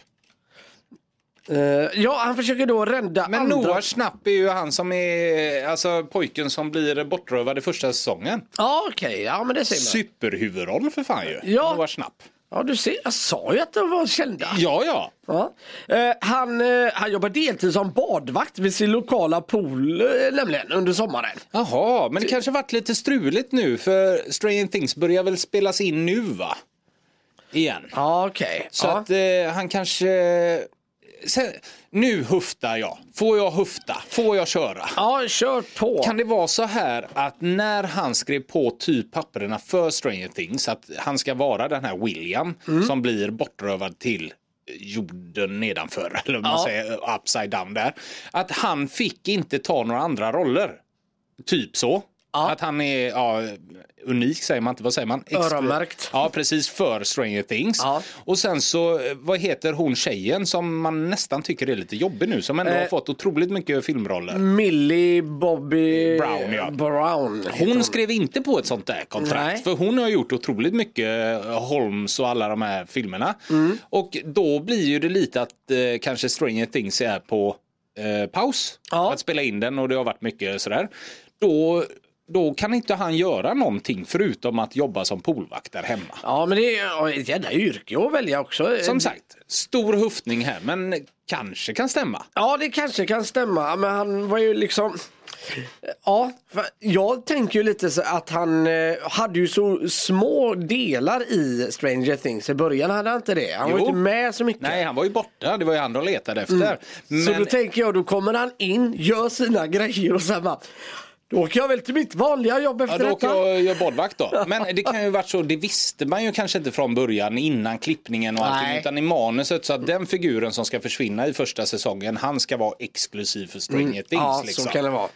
C: eh, ja han försöker då rädda
D: Men
C: andra.
D: Noah Schnapp är ju han som är alltså pojken som blir bortrövad i första säsongen.
C: Ja okej, ja men det ser man.
D: Superhuvudroll för fan ju.
C: Ja.
D: Noah Schnapp.
C: ja du ser, jag sa ju att de var kända.
D: Ja, ja.
C: Ja. Eh, han, eh, han jobbar deltid som badvakt vid sin lokala pool eh, nämligen under sommaren.
D: Jaha, men det kanske varit lite struligt nu för Stranger Things börjar väl spelas in nu va? Igen.
C: Ja okej.
D: Så
C: Ja.
D: att eh, han kanske... Sen, nu höftar jag. Får jag höfta? Får jag köra?
C: ja kör på.
D: Kan det vara så här att när han skrev på typ papperna för Stranger Things att han ska vara den här William
C: Mm.
D: som blir bortrövad till jorden nedanför, eller om man
C: Ja.
D: säger upside down där. Att han fick inte ta några andra roller. Typ så.
C: Ja.
D: Att han är ja, unik säger man inte, vad säger man? Exklu-
C: Öronmärkt.
D: Ja, precis, för Stranger Things.
C: Ja.
D: Och sen så, eh, vad heter hon tjejen som man nästan tycker är lite jobbig nu, som
C: Eh,
D: ändå har fått otroligt mycket filmroller?
C: Millie Bobby
D: Brown, ja.
C: Brown heter
D: Hon skrev inte på ett sånt där kontrakt.
C: Nej.
D: För hon har gjort otroligt mycket eh, Holmes och alla de här filmerna.
C: Mm.
D: Och då blir ju det lite att eh, kanske Stranger Things är på eh, paus.
C: Ja.
D: Att spela in den och det har varit mycket sådär. Då, då kan inte han göra någonting förutom att jobba som poolvakt där hemma.
C: Ja men det är ja, ett jävla yrke att välja också.
D: Som sagt, stor höftning här men kanske kan stämma.
C: Ja det kanske kan stämma men han var ju liksom Ja, för jag tänker ju lite så att han eh, hade ju så små delar i Stranger Things. I början hade han inte det. Han var ju
D: Jo.
C: inte med så mycket.
D: Nej, han var ju borta. Det var ju han de letade efter. Men...
C: Mm. Så då tänker jag, då kommer han in, gör sina grejer och sen bara, då åker jag väl till mitt vanliga jobb
D: Ja,
C: efter
D: då åker
C: detta.
D: jag och gör badvakt då. Men det kan ju varit så, det visste man ju kanske inte från början innan klippningen och allting.
C: Nej.
D: Utan i manuset så att den figuren som ska försvinna i första säsongen, han ska vara exklusiv för Stranger Things.
C: Mm. Ja,
D: liksom.
C: så kan det vara.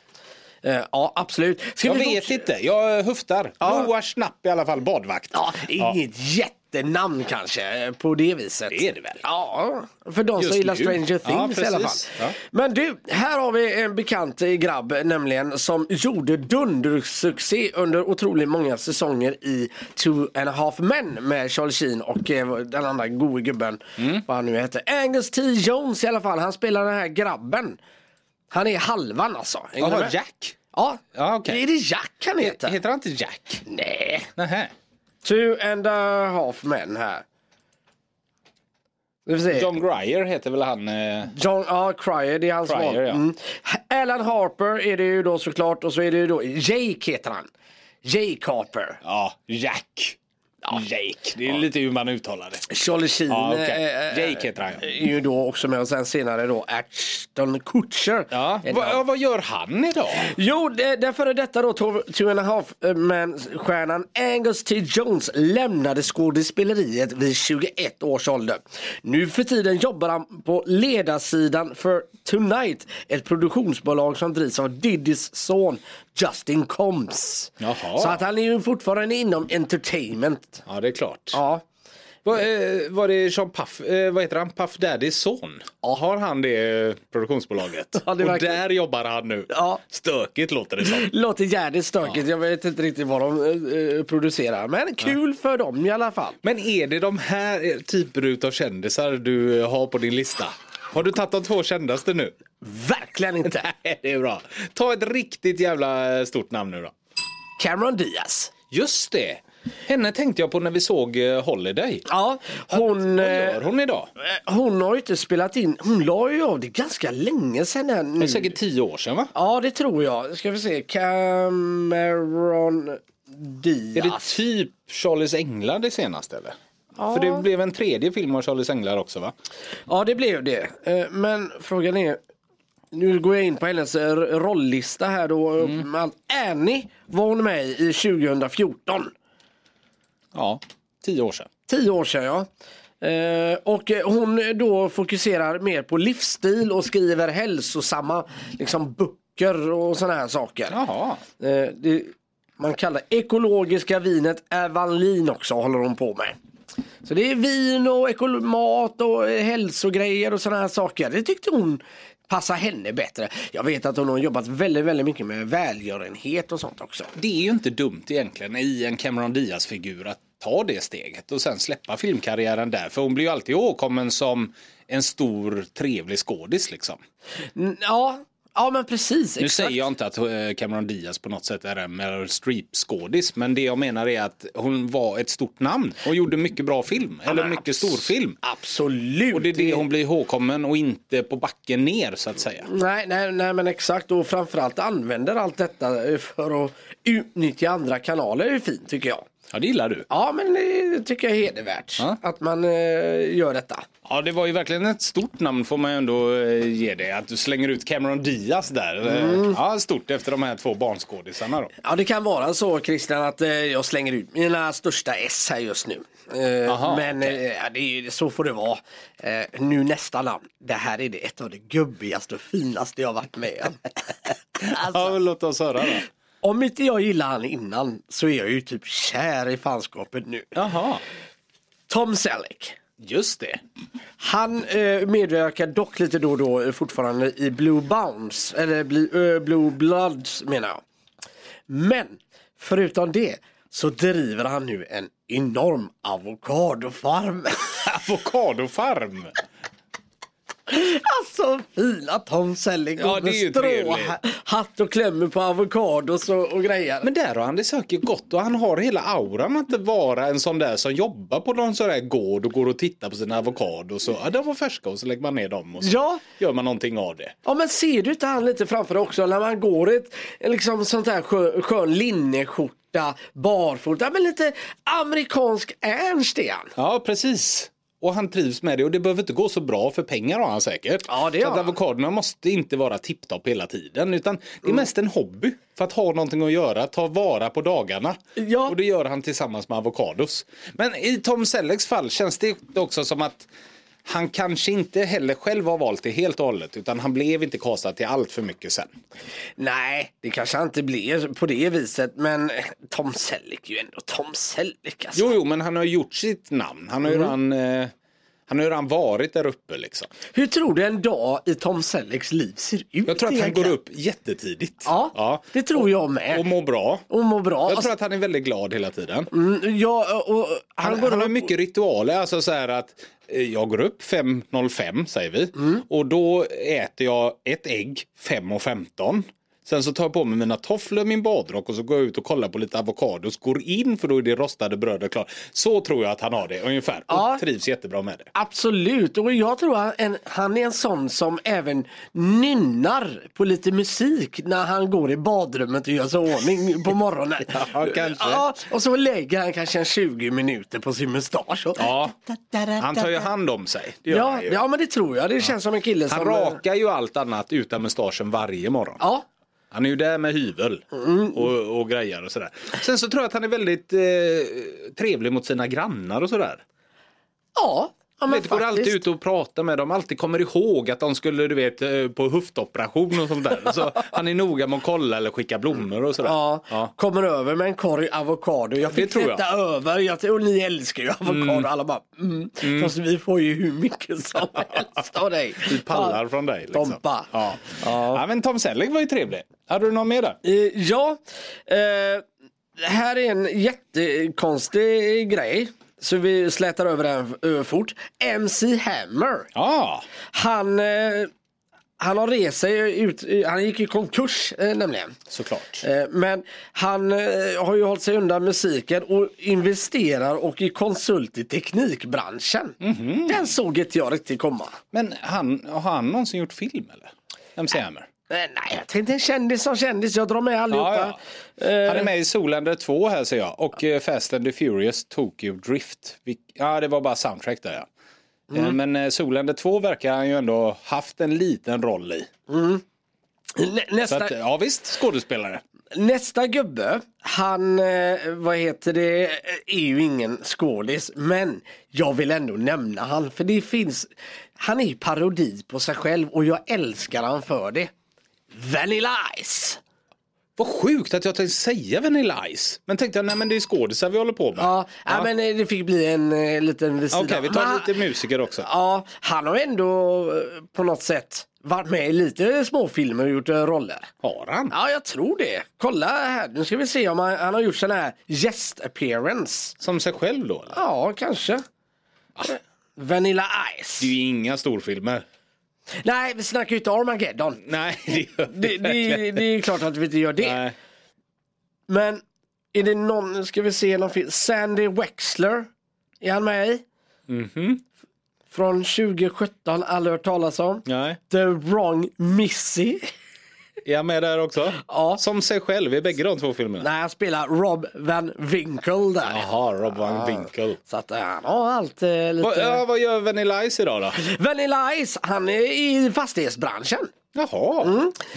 C: Eh, ja, absolut. Ska
D: Jag
C: vi
D: vet
C: forts-
D: inte, jag höftar. Noah Schnapp i alla fall, badvakt.
C: Ja, inget jättenamn kanske eh, på det viset.
D: Det är det väl?
C: Ja, för de som
D: Just
C: gillar
D: nu.
C: Stranger
D: Ja,
C: Things i alla fall.
D: precis. Ja.
C: Men du, här har vi en bekant eh, grabb nämligen som gjorde dundersuccé under otroligt många säsonger i Two and a half men med Charlie Sheen och eh, den andra gode gubben,
D: Mm.
C: vad han nu hette. Angus T Jones i alla fall, han spelar den här grabben. Han är halvan alltså. Hänger du
D: Jaha,
C: med?
D: Jack?
C: Ja,
D: Ja, okej.
C: är det Jack han heter?
D: Heter han inte Jack?
C: Nej.
D: Nähä.
C: Two and a half men här. Vi får se. John,
D: John Grier heter väl han? Eh...
C: ja, Cryer, det är hans
D: Cryer,
C: val.
D: ja.
C: Mm. Alan Harper är det ju då såklart och så är det ju då Jake heter han. Jake Harper.
D: Ja, Jack. Jake, det är lite hur man uttalar det.
C: Charlie Sheen
D: Ja, okej.
C: eh, eh,
D: Jake heter han, ja.
C: är ju då också med och sen senare då Ashton Kutcher.
D: Ja.
C: Är det
D: Va,
C: han.
D: ja, vad gör han idag?
C: Jo, det- den före detta då Tov- Two and a half Man-stjärnan Angus T. Jones lämnade skådespeleriet vid 21 års ålder. Nu för tiden jobbar han på ledarsidan för Tonight, ett produktionsbolag som drivs av Diddys son Justin Combs.
D: Jaha.
C: Så att han är ju fortfarande inom entertainment.
D: Ja, det är klart.
C: Ja.
D: Va, eh, var det Sean Puff, eh, vad heter han, Puff Daddys son? Har han det eh, produktionsbolaget?
C: Ja, det
D: Och
C: verkar-
D: där jobbar han nu.
C: Ja.
D: Stökigt låter det som.
C: Låter jävligt stökigt, jag vet inte riktigt vad de eh, eh, producerar. Men kul för dem i alla fall.
D: Men är det de här eh, typer utav kändisar du eh, har på din lista? Har du tagit de två kändaste nu?
C: Verkligen inte.
D: Nej, det är bra. Ta ett riktigt jävla eh, stort namn nu då.
C: Cameron Diaz.
D: Just det! Henne tänkte jag på när vi såg eh, Holiday.
C: Ja, hon,
D: Vad
C: eh,
D: gör hon idag?
C: hon har ju inte spelat in. Hon la ju av det ganska länge sedan. här
D: Det
C: Nu.
D: är säkert tio år sedan va?
C: Ja, det tror jag. Ska vi se. Cameron
D: Är det
C: Diaz.
D: typ Charlies Änglar det senaste eller? För det blev en tredje film av Charlies Änglar också va?
C: Ja, det blev det. Eh, Men frågan är. Nu går jag in på hennes eh, rollista här då.
D: Mm.
C: Med allt. Annie var hon med i 2014.
D: Ja, tio år sedan.
C: Tio år sedan ja. Eh, och eh, hon då fokuserar mer på livsstil och skriver hälsosamma liksom, böcker och sådana här saker.
D: Jaha.
C: Eh, det, man kallar ekologiska vinet Evanlin också håller hon på med. Så det är vin och ekolo- mat och eh, hälsogrejer och sådana här saker. Det tyckte hon passade henne bättre. Jag vet att hon har jobbat väldigt, väldigt mycket med välgörenhet och sånt också.
D: Det är ju inte dumt egentligen i en Cameron Diaz-figur att ta det steget och sen släppa filmkarriären där. För hon blir ju alltid åkommen som en stor trevlig skådis liksom.
C: Mm, ja, ja men precis.
D: Nu säger jag inte att eh, Cameron Diaz på något sätt är en Meryl Streep-skådis, men det jag menar är att hon var ett stort namn och gjorde mycket bra film, eller mycket stor film.
C: Absolut.
D: Och det är det hon blir ihågkommen och inte på backen ner så att säga.
C: Nej, nej, nej men exakt och framförallt använder allt detta eh, för att utnyttja andra kanaler är fint tycker jag.
D: Ja, det gillar du.
C: Ja men det tycker jag är hedervärt
D: Ja.
C: att man eh, gör detta.
D: Ja, det var ju verkligen ett stort namn får man ju ändå eh, ge dig. Att du slänger ut Cameron Diaz där. Eh, Ja, stort efter de här två barnskådisarna då.
C: Ja det kan vara så Christian att eh, jag slänger ut mina största S här just nu. Eh,
D: Aha,
C: men eh, ja, det är, så får det vara. Eh, nu nästa namn. Det här är det ett av det gubbigaste och finaste jag varit med om.
D: Ja, men låt oss höra då.
C: Om inte jag gillar han innan så är jag ju typ kär i fanskapet nu.
D: Jaha,
C: Tom Selleck.
D: just det.
C: Han eh, medverkar dock lite då och då eh, fortfarande i Blue Bounds, eller Bli- eh, Blue Bloods menar jag. Men förutom det så driver han nu en enorm avokadofarm.
D: Avokadofarm.
C: alltså fina Tom Selleck
D: Ja,
C: går
D: det är ju
C: med
D: trevligt.
C: stråhatt och klämmer på avokados och, och grejer.
D: Men där har han det säkert gott och han har hela auran att vara en sån där som jobbar på någon sån där gård och går och tittar på sina avokados. Och, ja, de var färska och så lägger man ner dem och så
C: Ja.
D: gör man någonting av det.
C: Ja men ser du inte han lite framför dig också när man går i ett liksom sånt här skön, skön linneskjorta barfota men lite amerikansk Ernst är han.
D: Ja, precis. Och han trivs med det och det behöver inte gå så bra för pengar har han säkert.
C: Ja, det
D: så
C: har
D: att
C: han.
D: avokadorna måste inte vara tipptopp hela tiden utan det är
C: Mm.
D: mest en hobby för att ha någonting att göra, ta vara på dagarna.
C: Ja.
D: Och det gör han tillsammans med avokados. Men i Tom Sellecks fall känns det också som att Han kanske inte heller själv har valt det helt och hållet utan han blev inte castad till allt för mycket sen.
C: Nej, det kanske han inte blir på det viset. Men Tom Selleck är ju ändå Tom Selleck. Alltså.
D: Jo, jo, men han har ju gjort sitt namn. Han har
C: Mm.
D: ju redan, eh, han har ju redan varit där uppe liksom.
C: Hur tror du en dag i Tom Sellecks liv ser ut?
D: Jag tror att han går
C: egentligen?
D: upp jättetidigt.
C: Ja, det tror jag med.
D: Och mår bra.
C: och mår bra.
D: Jag tror att han är väldigt glad hela tiden.
C: Mm, ja, och, och, han,
D: Han,
C: går
D: han, har
C: upp-
D: mycket ritualer, alltså så här att eh, jag går upp 5.05 säger vi
C: Mm.
D: och då äter jag ett ägg 5.15. Sen så tar jag på mig mina tofflor, min badrock och så går jag ut och kollar på lite avokados, går in för då är det rostade brödet klart. Så tror jag att han har det ungefär
C: Ja.
D: och trivs jättebra med det.
C: Absolut, och jag tror att en, han är en sån som även nynnar på lite musik när han går i badrummet och gör sig i ordning på morgonen.
D: Ja, kanske.
C: Ja, och så lägger han kanske en 20 minuter på sin mustasch. och-
D: Ja, han tar ju hand om sig. Det gör
C: Ja,
D: han, ju.
C: ja, men det tror jag. Det känns som en kille
D: han
C: som... eh,
D: rakar ju allt annat utan mustaschen varje morgon.
C: Ja,
D: Han är ju där med hyvel
C: Mm.
D: och, och grejer och sådär. Sen så tror jag att han är väldigt eh, trevlig mot sina grannar och sådär.
C: ja. ja
D: Du
C: men
D: vet, går alltid
C: faktiskt.
D: ut och pratar med dem, alltid kommer ihåg att de skulle du vet eh, på höftoperation och sånt där. Så han är noga med att kolla eller skicka blommor och sådär.
C: Ja, kommer över med en korg avokado. Jag fick
D: Det tror jag.
C: detta över. Jag, och ni älskar ju avokado. Alla bara, mm. Fast vi får ju hur mycket som helst av dig.
D: Vi pallar från dig. Liksom.
C: Tompa.
D: Ja. Ja. men Tom Selleck var ju trevlig. Hade du någon mer där?
C: Eh, ja, eh, här är en jättekonstig grej. Så vi slätar över den eh, fort. MC Hammer.
D: Ja,
C: Han, eh, han har rest sig ut. eh, Han gick i konkurs eh, nämligen.
D: såklart.
C: Eh, Men han eh, har ju hållit sig undan musiken och investerar och är konsult i teknikbranschen.
D: Mhm.
C: Den såg inte jag riktigt komma.
D: Men han, har han någonsin gjort film eller? MC Hammer?
C: Eh, Nej, jag tänkte en kändis som kändis. Jag drar med allihopa. Eh,
D: Ja, ja. Han är med i Solander 2 här ser jag och eh, Fast and the Furious Tokyo Drift. Vil- Ja, det var bara soundtrack där ja. Eh,
C: Mm.
D: Men eh, Solander 2 verkar han ju ändå haft en liten roll i.
C: Nä-
D: Så
C: Nästa,
D: att, eh, ja visst, skådespelare.
C: nästa gubbe, han, eh, vad heter det, eh, är ju ingen skådis. Men jag vill ändå nämna han, för det finns, han är ju parodi på sig själv och jag älskar han för det. Vanilla Ice!
D: Vad sjukt att jag tänkte säga Vanilla Ice. Men tänkte jag, nej men det är skådisar vi håller på med.
C: Ja, ja. men eh, det fick bli en eh, liten vid
D: Okej,
C: sidan.
D: vi
C: Men han-
D: tar lite musiker också.
C: Ja, han har ändå eh, på något sätt varit med i lite småfilmer och gjort eh, roller.
D: Har han?
C: Ja, jag tror det. Kolla här, nu ska vi se om han, han har gjort sån här guest appearance.
D: Som sig själv då? Eller?
C: Ja, kanske. Vanilla Ice.
D: Det är ju inga storfilmer.
C: Nej, vi snackar ju inte Armageddon.
D: Nej, det gör
C: Det, det, det är klart att vi inte gör det.
D: Nej.
C: Men är det någon, nu ska vi se någon film, Sandy Wexler är han med i.
D: Mhm.
C: Från 2017, aldrig hört talas om.
D: Nej.
C: The wrong Missy.
D: Är jag med där också?
C: Ja.
D: Som sig själv i bägge de två filmerna?
C: Nej, han spelar Rob Van Winkle där.
D: Jaha, Rob Van Winkle.
C: Så att eh, han har allt eh,
D: Vad,
C: lite...
D: ja, vad gör Vanilla Ice idag då?
C: Vanilla Ice, han är i fastighetsbranschen.
D: Jaha,
C: Mm.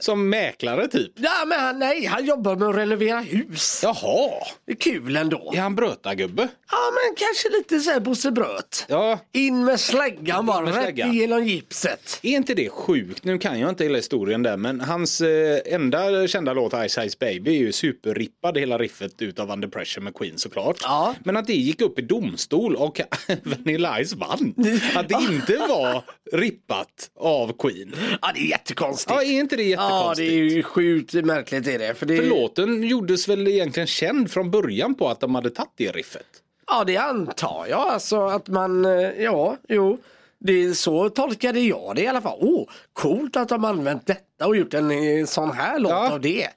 D: som mäklare typ.
C: Ja, men han, nej, han jobbar med att renovera hus.
D: Jaha,
C: Det är kul ändå.
D: är han brötargubbe?
C: Ja, men kanske lite så här Bosse Bröt.
D: Ja,
C: In med släggan bara,
D: med
C: rätt
D: släggan.
C: igenom gipset.
D: är inte det sjukt? Nu kan jag inte hela historien där, men hans eh, enda kända låt Ice Ice Baby är ju superrippad hela riffet utav Under Pressure med Queen såklart.
C: Ja.
D: Men att det gick upp i domstol och Vanilla Ice vann. Att det inte var rippat av Queen.
C: Ja, det är jättekonstigt.
D: Ja, är inte det
C: ja, det
D: jättekonstigt?
C: är ju sjukt märkligt är det. För det
D: För låten gjordes väl egentligen känd från början på att de hade tagit det riffet.
C: Ja, det antar jag. Alltså att man, eh, ja, jo. Det är så tolkade jag det i alla fall. Åh, oh, coolt att de använt detta och gjort en eh, sån här låt
D: Ja.
C: av det.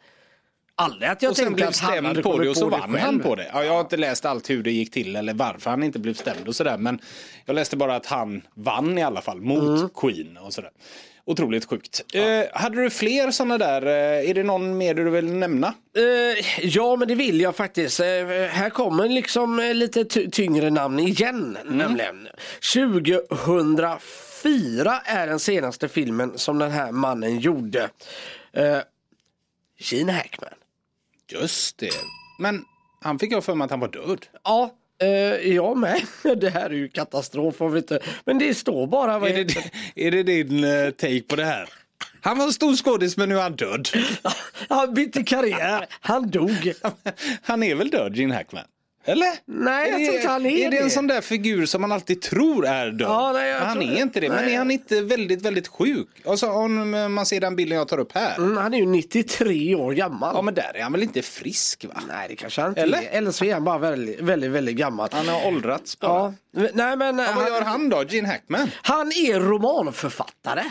C: Aldrig att jag
D: och sen
C: tänkte
D: blev
C: att han hade
D: stämd på
C: kommit
D: det och så
C: på
D: vann
C: det
D: han
C: själv.
D: på det. Ja, jag har inte läst allt hur det gick till eller varför han inte blev stämd och sådär. Men jag läste bara att han vann i alla fall mot
C: Mm.
D: Queen och sådär. Otroligt sjukt. Eh, hade du fler sådana där? Eh, är det någon mer du vill nämna?
C: Eh, ja, men det vill jag faktiskt. Eh, här kommer liksom eh, lite ty- tyngre namn igen,
D: Mm.
C: nämligen. 2004 är den senaste filmen som den här mannen gjorde. Eh, Gene Hackman.
D: Just det. Men han fick jag för mig att han var död.
C: Ja, Eh, jag med. Det här är ju katastrof om vi inte... Men det står bara... Vad
D: Är det, är det din eh, take på det här? Han var en stor skådis men nu är han död.
C: Han bytte karriär. Han dog.
D: Han är väl död Gene Hackman? Eller?
C: Nej, jag
D: Är det-
C: tror inte han är
D: Är det
C: det.
D: en sån där figur som man alltid tror är död?
C: Ja, nej, jag
D: men han
C: tror
D: är
C: det.
D: inte det. Men
C: Nej.
D: är han inte väldigt, väldigt sjuk? Alltså, om man ser den bilden jag tar upp här.
C: Mm, han är ju 93 år gammal.
D: Ja, men där är han väl inte frisk va?
C: Nej, det kanske han inte
D: Eller?
C: är. Eller så är han bara väldigt, väldigt, väldigt gammal.
D: Han har åldrats bara.
C: Ja. Nej, men,
D: Ja, vad gör han då, Gene Hackman?
C: han är romanförfattare.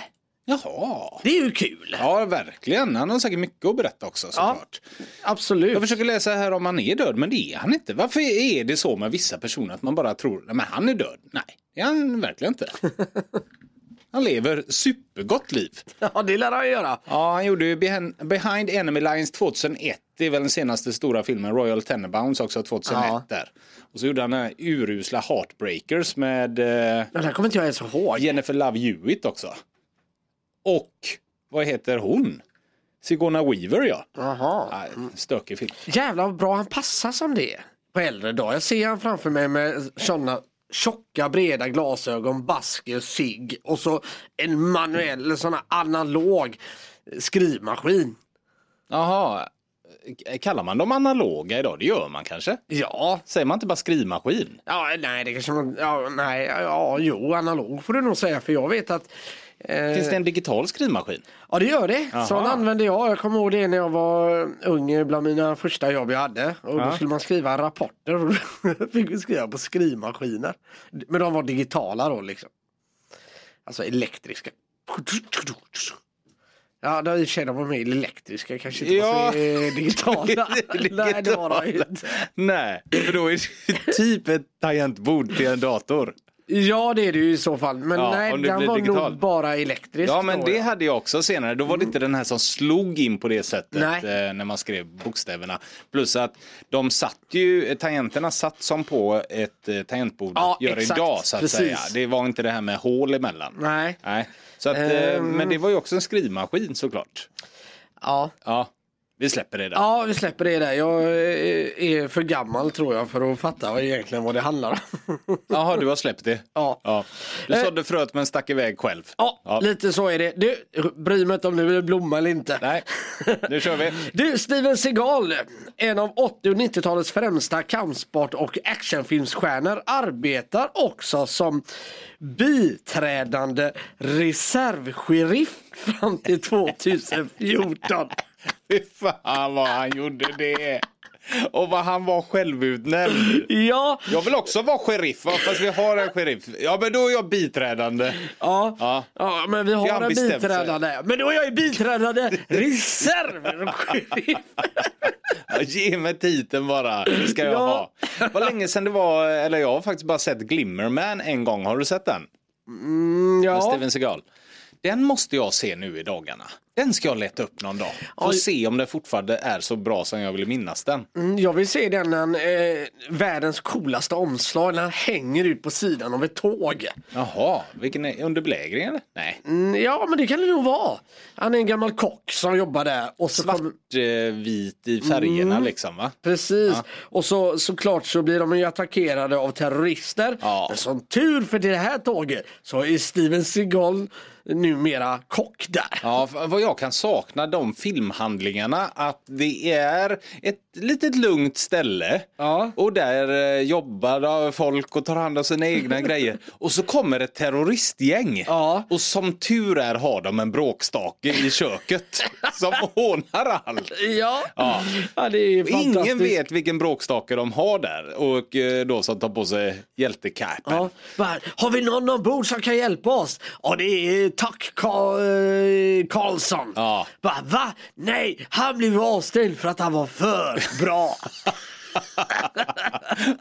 D: Jaha.
C: Det är ju kul.
D: Ja, verkligen. Han har säkert mycket att berätta också såklart.
C: Absolut.
D: Jag försöker läsa här om han är död, men det är han inte. Varför är det så med vissa personer att man bara tror nej, men han är död? Nej, det är han verkligen inte. Han lever supergott liv.
C: Ja, det lär han göra.
D: Ja, han gjorde ju Behen- Behind Enemy Lines 2001. Det är väl den senaste stora filmen, Royal Tenenbaums också 2001
C: Ja.
D: där. Och så gjorde han den här urusla Heartbreakers med eh,
C: Den här kommer inte jag ens ihåg.
D: Jennifer Love Hewitt också. Och vad heter hon? Sigourney Weaver ja.
C: Jaha.
D: Nej, Stökig film.
C: Jävlar vad bra han passar som det är på äldre dag. Jag ser han framför mig med sådana tjocka breda glasögon, basker, cigg och så en manuell, eller sån här analog skrivmaskin.
D: Jaha, kallar man dem analoga idag? Det gör man kanske?
C: Ja,
D: Säger man inte bara skrivmaskin?
C: ja nej det kanske man, ja, nej, ja jo analog får du nog säga för jag vet att eh,
D: Finns det en digital skrivmaskin?
C: Ja det gör det.
D: Jaha.
C: Sån använde jag. Jag kommer ihåg det när jag var ung eh, bland mina första jobb jag hade. Och
D: Ja.
C: Då skulle man skriva rapporter och då fick vi skriva på skrivmaskiner. Men de var digitala då liksom. Alltså elektriska. Ja, de, i och för sig de var mer elektriska kanske inte var så
D: Ja.
C: eh, digitala. Nej, det var de ju inte.
D: Nej, för då är det typ ett tangentbord till en dator.
C: Ja, det är det ju i så fall. Men
D: Ja,
C: nej,
D: om det
C: den
D: blir
C: var
D: digital.
C: nog bara elektrisk.
D: Ja, men
C: då,
D: det hade jag också senare. Då var det inte den här som slog in på det sättet
C: Nej.
D: eh, när man skrev bokstäverna. Plus att de satt ju, tangenterna satt som på ett eh, tangentbord
C: Ja,
D: gör
C: exakt.
D: idag så att
C: Precis.
D: säga. Det var inte det här med hål emellan.
C: Nej,
D: Nej. Så att, eh,
C: Ehm.
D: men det var ju också en skrivmaskin såklart.
C: ja.
D: Ja, vi släpper det där.
C: Ja, vi släpper det där. Jag eh, är för gammal tror jag för att fatta vad egentligen vad det handlar om.
D: Jaha, du har släppt det.
C: Ja. Eh.
D: Du sådde fröet men stack iväg själv.
C: Ja, lite så är det. Du, bryr mig inte om det blir blomma eller inte.
D: Nej, nu kör vi.
C: Du, Steven Seagal, en av 80 och 90-talets främsta kampsport och actionfilmsstjärnor, arbetar också som biträdande reservsheriff fram till 2014.
D: Fy fan vad han gjorde det. Och vad han var självutnämnd.
C: Ja,
D: Jag vill också vara sheriff, va? fast vi har en sheriff. Ja, men då är jag biträdande.
C: Ja,
D: Ja.
C: ja. men vi har
D: har
C: en
D: bestämt sig.
C: biträdande. Men då är jag ju biträdande reservsheriff.
D: Ja, Ge mig titeln bara, det ska jag
C: Ja.
D: ha. Vad länge sedan det var, eller jag har faktiskt bara sett Glimmerman en gång. Har du sett den? med
C: ja.
D: Steven Seagal. Den måste jag se nu i dagarna. Den ska jag leta upp någon dag. Får
C: Oj.
D: se om den fortfarande är så bra som jag vill minnas den.
C: Mm, Jag vill se den när eh, världens coolaste omslag när han hänger ut på sidan av ett tåg.
D: Jaha, vilken är under belägring eller? Nej.
C: Mm, ja, men det kan det nog vara. Han är en gammal kock som jobbar där. Och så kommer-
D: Svartvit eh, i
C: Mm.
D: färgerna liksom va?
C: Precis. Och så, såklart så blir de ju attackerade av terrorister.
D: Ja.
C: Men som tur för det här tåget så är Steven Seagal numera kock där.
D: Ja, f- vad jag kan sakna de filmhandlingarna att det är ett litet lugnt ställe
C: Ja.
D: och där eh, jobbar då folk och tar hand om sina egna grejer och så kommer ett terroristgäng
C: Ja.
D: och som tur är har de en bråkstake i köket som ordnar allt.
C: Ja,
D: Ja.
C: ja det är ju fantastiskt.
D: Ingen vet vilken bråkstake de har där och eh, då som tar på sig hjältecapen.
C: Ja. Bara, Har vi någon ombord som kan hjälpa oss? Ja, det är Tack Ka- eh, Karlsson.
D: Ja.
C: Bara, va? Nej, han blev avstängd för att han var för bra.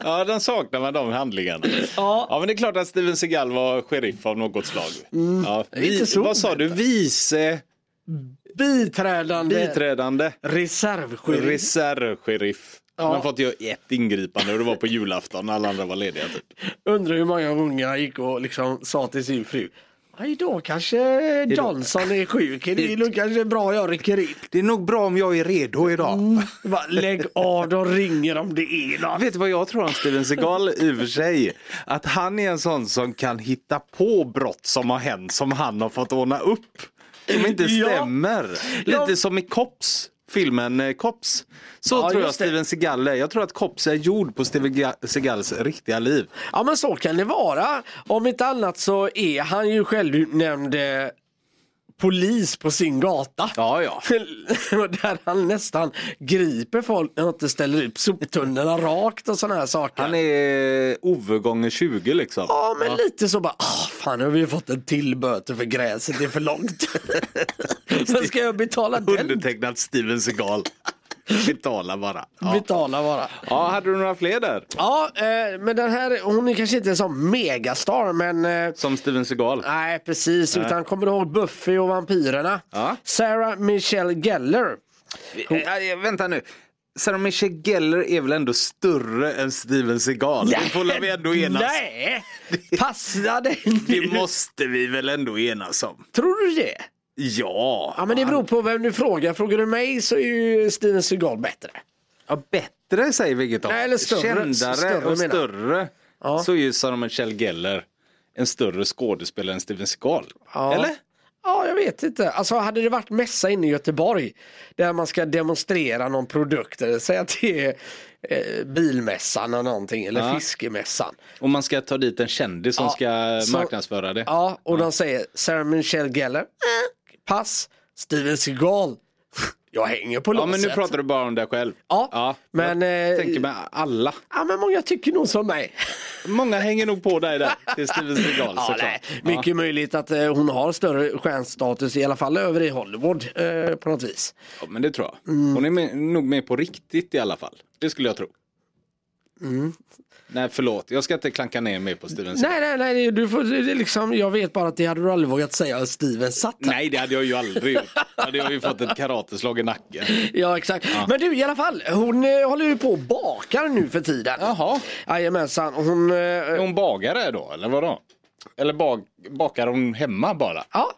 D: Ja, den saknar man de handlingarna.
C: Ja.
D: men det är klart att Steven Seagal var sheriff av något slag. Ja,
C: Inte så
D: vad sa du? Vice
C: Biträdande
D: biträdande
C: reservsheriff.
D: reservsheriff.
C: Ja.
D: Man fått göra ett ingripande och det var på julafton när alla andra var lediga. Typ.
C: Undrar hur många unga gick och liksom sa till sin fru. Ja, Idag kanske Johnson är sjuk. Det är nog kanske bra jag rycker in.
D: Det är nog bra om jag är redo idag.
C: Bara, Lägg av, de ringer om det är något.
D: Vet du vad jag tror om Steven Seagal i och för sig? Att han är en sån som kan hitta på brott som har hänt som han har fått ordna upp. Som inte
C: Ja.
D: stämmer. Lite
C: Ja.
D: som i Cops. Filmen eh, Cops. Så
C: Ja,
D: tror jag
C: just det.
D: Steven Seagal är. Jag tror att Cops är gjord på Steven Ga- Seagals riktiga liv.
C: Ja men så kan det vara. Om inte annat så är han ju självutnämnd eh, polis på sin gata.
D: Ja, ja.
C: Och Där han nästan griper folk när de inte ställer ut soptunnorna rakt och sådana här saker.
D: Han är eh, Ove gånger 20 liksom.
C: Ja men lite så bara, ah, fan nu har vi ju fått en till böter för gräset, det är för långt. Sen ska jag betala den?
D: Undertecknat Steven Seagal. Betala bara. Ja.
C: Betala bara.
D: ja, hade du några fler där?
C: Ja, eh, men den här, hon är kanske inte en sån megastar men eh,
D: Som Steven Seagal?
C: Nej, precis. Utan kommer du ihåg Buffy och vampyrerna?
D: Ja.
C: Sarah Michelle Geller.
D: Eh, eh, vänta nu. Sarah Michelle Geller är väl ändå större än Steven Seagal? Det får väl vi ändå enas
C: Nej, passa dig
D: Det
C: nu.
D: måste vi väl ändå enas om?
C: Tror du det?
D: Ja.
C: Ja, men det beror på vem du frågar. Frågar du mig så är ju Steven Seagal bättre.
D: Ja, bättre säger vi inget om.
C: Nej, eller större.
D: Kändare
C: Större
D: och
C: menar jag.
D: större.
C: Ja.
D: Så är ju Sarah Michelle Geller en större skådespelare än Steven Seagal.
C: Ja.
D: Eller?
C: Ja, jag vet inte. Alltså, hade det varit mässa inne i Göteborg där man ska demonstrera någon produkt, eller säg att det är eh, bilmässan eller någonting, eller
D: Ja.
C: fiskemässan.
D: Och man ska ta dit en kändis som
C: Ja,
D: ska
C: så-
D: marknadsföra det.
C: Ja, och de säger Sarah Michelle Geller, eh, pass. Steven Seagal, jag hänger på
D: Ja,
C: låset.
D: men nu pratar du bara om dig själv.
C: Ja, men,
D: Jag
C: eh,
D: tänker med alla.
C: Ja, men många tycker nog som mig.
D: Många hänger nog på dig där. Det är Steven Seagal
C: Ja, nej.
D: såklart. Ja.
C: Mycket möjligt att eh, hon har större stjärnstatus, i alla fall över i Hollywood eh, på något vis.
D: Ja, men det tror jag.
C: Mm.
D: Hon är med, nog med på riktigt i alla fall. Det skulle jag tro.
C: Mm.
D: Nej, förlåt. Jag ska inte klanka ner mer på Steven Seagal.
C: Nej, nej, nej, du får, det är liksom, jag vet bara att det hade du aldrig vågat säga att Steven satt här.
D: Nej, det hade jag ju aldrig gjort. Då hade jag ju fått ett karateslag i nacken.
C: Ja, exakt. Men du, i alla fall, hon eh, håller ju på och bakar nu för tiden.
D: Jaha.
C: Jajamensan, hon... eh,
D: Är hon bagare då, eller vadå? Eller bak, bakar hon hemma bara?
C: Ja,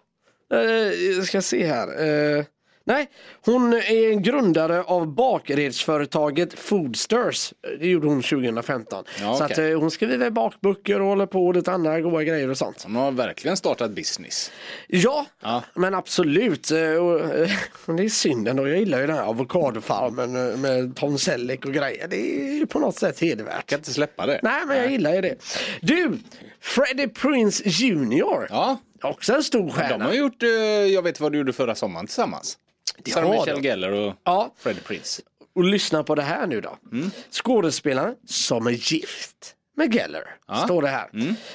C: eh, jag ska se här. Eh, nej, hon är en grundare av bakredsföretaget Foodsters. Det gjorde hon 2015.
D: Ja,
C: Så
D: okej.
C: att, eh, hon skriver bakböcker och håller på och lite andra goda grejer och sånt.
D: Hon har verkligen startat business.
C: Ja,
D: Ja.
C: men absolut. Eh, och, eh, men det är synd ändå. Jag gillar ju den här avokadofarmen eh, med Tom Selleck och grejer. Det är ju på något sätt hedervärt.
D: Kan inte släppa det.
C: Nej, men jag gillar ju det. Du, Freddie Prince Jr.
D: Ja,
C: Också en stor
D: de
C: stjärna.
D: har gjort eh, Jag vet vad du gjorde förra sommaren tillsammans. Sarah
C: har
D: Michelle
C: de.
D: Geller och
C: Ja.
D: Freddie Prinze.
C: Och lyssna på det här nu då. Skådespelaren som är gift med Geller, står det här.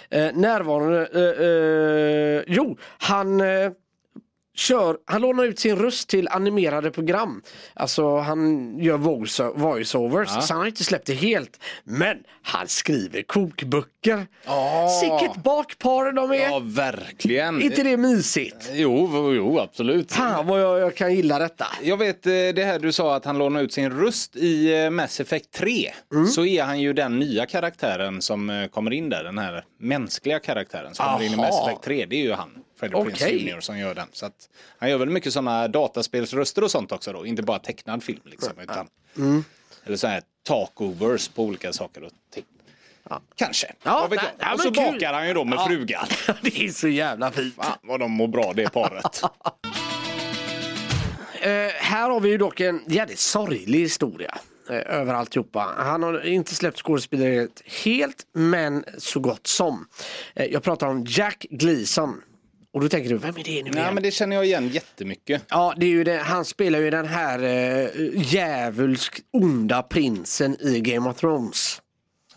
C: Eh, närvarande, eh, eh, jo, han eh, kör, han lånar ut sin röst till animerade program. Alltså han gör voice- voiceovers, så han har inte släppt det helt. Men han skriver kokböcker.
D: Ah.
C: Sicket bakpar de är.
D: Ja, verkligen.
C: Eh, inte det mysigt?
D: Jo, jo, jo, absolut.
C: Fan vad jag, jag kan gilla detta.
D: Jag vet eh, det här du sa att han lånar ut sin röst i eh, Mass Effect 3.
C: Mm.
D: Så är han ju den nya karaktären som eh, kommer in där. Den här mänskliga karaktären som kommer in i
C: Aha.
D: Mass Effect 3. Det är ju han, Freddie Prinze
C: Okej.
D: Jr som gör den. Så att, han gör väl mycket sådana dataspelsröster och sånt också då. Inte bara tecknad film liksom. Utan,
C: Mm.
D: Eller så här talkovers på olika saker och ting. Kanske.
C: Ja,
D: Vad vet
C: nej,
D: jag.
C: ja,
D: och så
C: men kul.
D: bakar han ju då med frugan.
C: det är så jävla fint.
D: Fan vad de mår bra det paret.
C: Eh, här har vi ju dock en jävligt sorglig historia eh, över alltihopa. Han har inte släppt skådespeleriet helt, men så gott som. Eh, jag pratar om Jack Gleason. Och då tänker du, vem är det nu igen?
D: Nej men det känner jag igen jättemycket.
C: Ja, det är ju det. han spelar ju den här eh, djävulskt onda prinsen i Game of Thrones.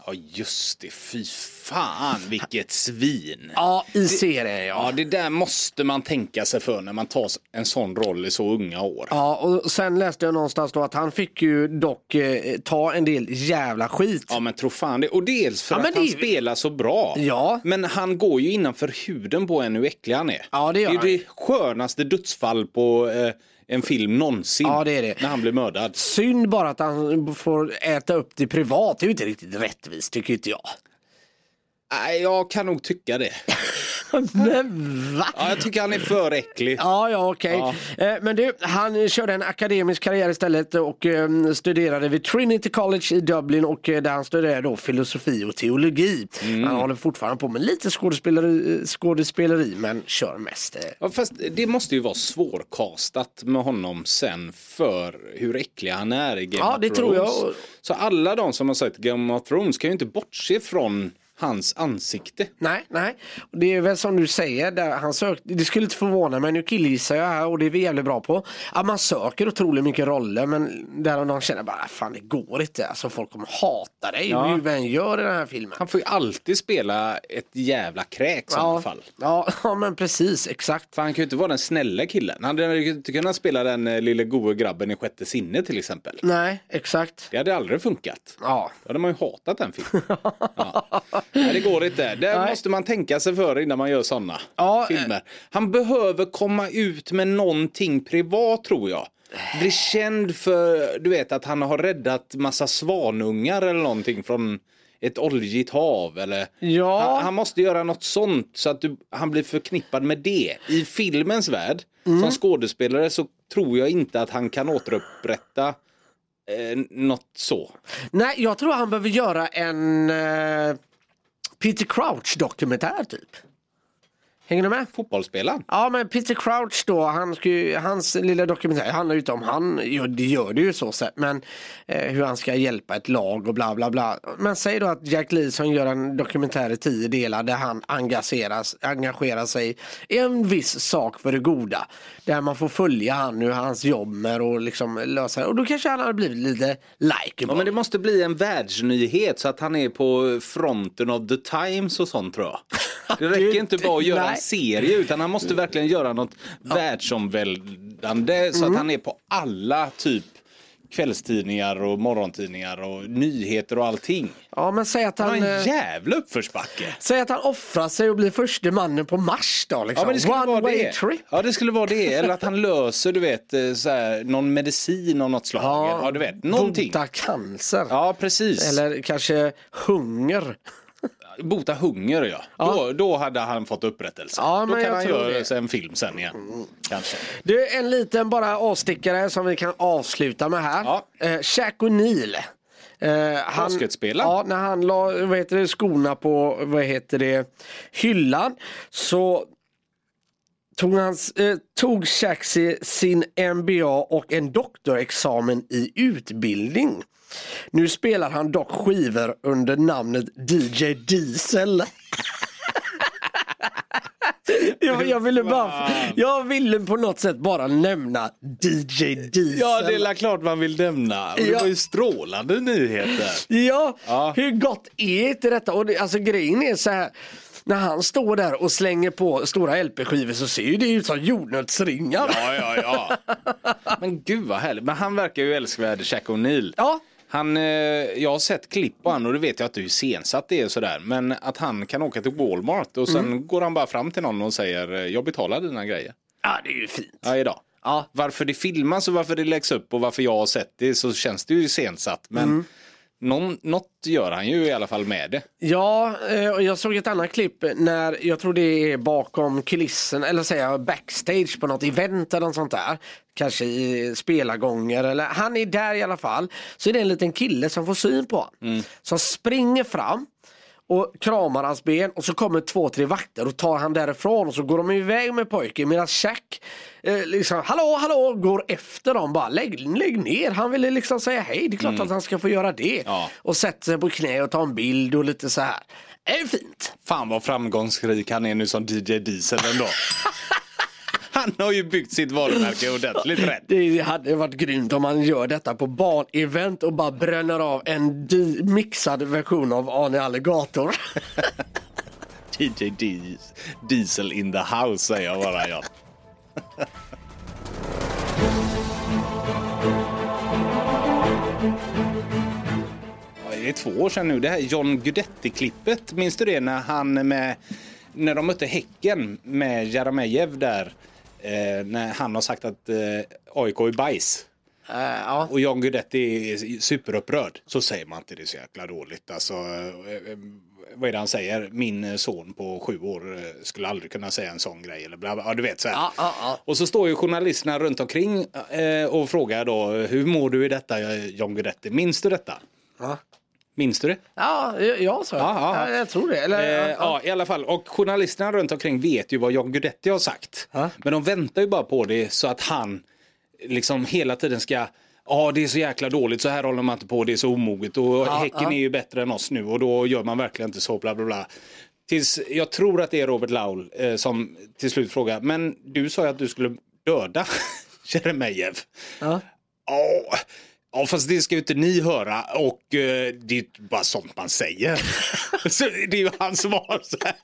D: Ja just det, fy fan vilket svin.
C: Ja, i serien ja.
D: Ja det där måste man tänka sig för när man tar en sån roll i så unga år.
C: Ja, och sen läste jag någonstans då att han fick ju dock eh, ta en del jävla skit.
D: Ja men tro fan det. Och dels för
C: Ja, men
D: att han
C: det är ju-
D: spelar så bra.
C: Ja.
D: Men han går ju innanför huden på en hur äcklig han är.
C: Ja, det gör
D: är
C: han.
D: ju det skönaste dödsfall på eh, en film någonsin.
C: Ja, det är det.
D: När han blir mördad.
C: Synd bara att han får äta upp det privat. Det är ju inte riktigt rättvist tycker inte jag.
D: Nej, jag kan nog tycka det.
C: Men va?
D: Ja, jag tycker han är för äcklig.
C: Ja, ja okej. Eh, Men du, han körde en akademisk karriär istället och eh, studerade vid Trinity College i Dublin och eh, där han studerade då filosofi och teologi. Han håller fortfarande på med lite skådespeleri, eh, skådespeleri men kör mest. eh.
D: Ja, fast det måste ju vara svårkastat med honom sen för hur äcklig han är i Game
C: Ja,
D: of
C: det
D: Thrones.
C: tror jag.
D: Så alla de som har sett Game of Thrones kan ju inte bortse från hans ansikte.
C: Nej, nej. Och Det är väl som du säger, där han sökte, det skulle inte förvåna mig, nu killgissar jag här och det är vi jävligt bra på. Att man söker otroligt mycket roller men där de känner bara, "Ah, fan det går inte, alltså folk kommer hata dig
D: Ja.
C: hur du än gör i den här filmen.
D: Han får ju alltid spela ett jävla kräk i alla fall.
C: Ja, ja, men precis, exakt.
D: För han kan ju inte vara den snälla killen. Han hade ju inte kunnat spela den eh, lille goe grabben i Sjätte sinne till exempel.
C: Nej, exakt.
D: Det hade aldrig funkat.
C: Ja.
D: Då hade man ju hatat den filmen. Ja. Nej, det går inte. Där
C: Nej.
D: måste man tänka sig för innan man gör sådana
C: Ja, eh.
D: filmer. Han behöver komma ut med någonting privat tror jag. Bli känd för, du vet, att han har räddat massa svanungar eller någonting från ett oljigt hav eller
C: Ja.
D: han, han måste göra något sånt så att du, han blir förknippad med det. I filmens värld,
C: Mm.
D: som skådespelare så tror jag inte att han kan återupprätta eh, något så.
C: Nej, jag tror han behöver göra en eh, Peter Crouch-dokumentär typ. Hänger du med?
D: Fotbollsspelaren.
C: Ja men Peter Crouch då, han ska ju, hans lilla dokumentär handlar ju inte om han, jo, det gör det ju så sett, men eh, hur han ska hjälpa ett lag och bla bla bla. Men säg då att Jack Leeson gör en dokumentär i tio delar där han engageras, engagerar sig i en viss sak för det goda. Där man får följa han hur hans jobb med och liksom lösa och då kanske han hade blivit lite
D: Ja,
C: likeable.
D: men det måste bli en världsnyhet så att han är på fronten of the times och sånt tror jag. Det räcker inte bara att göra
C: Nej.
D: en serie utan han måste verkligen göra något världsomvälvande
C: Mm.
D: så att han är på alla typ kvällstidningar och morgontidningar och nyheter och allting.
C: Ja men säg att
D: Han
C: han...
D: har en
C: eh,
D: jävla uppförsbacke.
C: Säg att han offrar sig och blir förste mannen på Mars då liksom. One way
D: det.
C: trip.
D: Ja, det skulle vara det. Eller att han löser, du vet, eh, så här, någon medicin av något slag. Ja, du vet, någonting.
C: Bota cancer.
D: Ja, precis.
C: Eller kanske hunger.
D: Bota hunger ja. Då, då hade han fått upprättelse.
C: Ja,
D: då
C: men
D: kan
C: jag
D: han
C: tror
D: göra
C: det.
D: sig en film sen igen. Kanske.
C: Du, en liten bara avstickare som vi kan avsluta med här.
D: Ja.
C: Eh, Shaq O'Neal. Eh, han-
D: Basketspelaren.
C: Ja, när han la vad heter det, skorna på vad heter det, hyllan så tog, hans, eh, tog Shaq si- sin MBA och en doktorexamen i utbildning. Nu spelar han dock skivor under namnet DJ Diesel. jag, jag, ville bara,
D: Fan.
C: jag ville på något sätt bara nämna DJ Diesel.
D: Ja, det är la klart man vill nämna. Och det
C: Ja.
D: var ju strålande nyheter.
C: Ja,
D: Ja.
C: hur gott är inte detta? Och det, alltså grejen är så här. När han står där och slänger på stora LP-skivor så ser ju det ut som jordnötsringar. Ja.
D: Ja, ja, ja. Men gud vad härligt. Men han verkar ju älskvärd, Shaq O'Neal.
C: Ja.
D: Han, eh, jag har sett klipp på han och det vet jag att du är sensatt det är och sådär. Men att han kan åka till Walmart och sen går han bara fram till någon och säger eh, jag betalar dina grejer.
C: det är ju fint.
D: Ja, idag.
C: Ja.
D: Varför det filmas och varför det läggs upp och varför jag har sett det så känns det ju sensatt. Men någon, något gör han ju i alla fall med det.
C: Ja, eh, och jag såg ett annat klipp när, jag tror det är bakom kulissen, eller säger jag backstage på något event eller något sånt där. Kanske i spelargångar eller, han är där i alla fall. Så är det en liten kille som får syn på honom.
D: Mm.
C: Som springer fram och kramar hans ben och så kommer två, tre vakter och tar han därifrån och så går de iväg med pojken medan Jack eh, liksom, hallå, hallå, går efter dem bara lägg, lägg ner, han ville liksom säga hej, det är klart att han ska få göra det
D: Mm. Ja.
C: och sätter sig på knä och tar en bild och lite så här. Det är fint.
D: Fan vad framgångsrik han är nu som DJ Diesel ändå. han har ju byggt sitt varumärke ordentligt rätt.
C: Det hade varit grymt om man gör detta på barnevent och bara bränner av en di- mixad version av Arne Alligator.
D: DJ Dies- Diesel in the house säger jag bara ja. Ja, Det är två år sedan nu, det här John Guidetti-klippet. Minns du det när han med, när de mötte Häcken med Jeremejeff där? Eh, när han har sagt att eh, AIK är bajs.
C: Eh, ja.
D: Och John Guidetti är superupprörd. Så säger man inte det så jäkla dåligt. Alltså, eh, eh, vad är det han säger? Min son på sju år eh, skulle aldrig kunna säga en sån grej. Eller bla bla. Ja, du vet så här.
C: Ja, ja, ja.
D: Och så står ju journalisterna runt omkring eh, och frågar då hur mår du i detta eh, John Guidetti? Minns du detta?
C: Ja.
D: Minns du det?
C: Ja, ja så.
D: Ja, ja, ja.
C: jag tror det. Eller,
D: Eh,
C: ja, ja.
D: ja, i alla fall. Och journalisterna runt omkring vet ju vad John Guidetti har sagt.
C: Ja.
D: Men de väntar ju bara på det så att han liksom hela tiden ska Ja, det är så jäkla dåligt, så här håller man inte på, det är så omoget och Häcken är ju bättre än oss nu och då gör man verkligen inte så, bla bla bla. Tills, jag tror att det är Robert Laul eh, som till slut frågar, men du sa ju att du skulle döda Jeremejeff.
C: Ja.
D: Ja, ja, fast det ska ju inte ni höra och eh, det är ju bara sånt man säger. så det är ju han som har så här.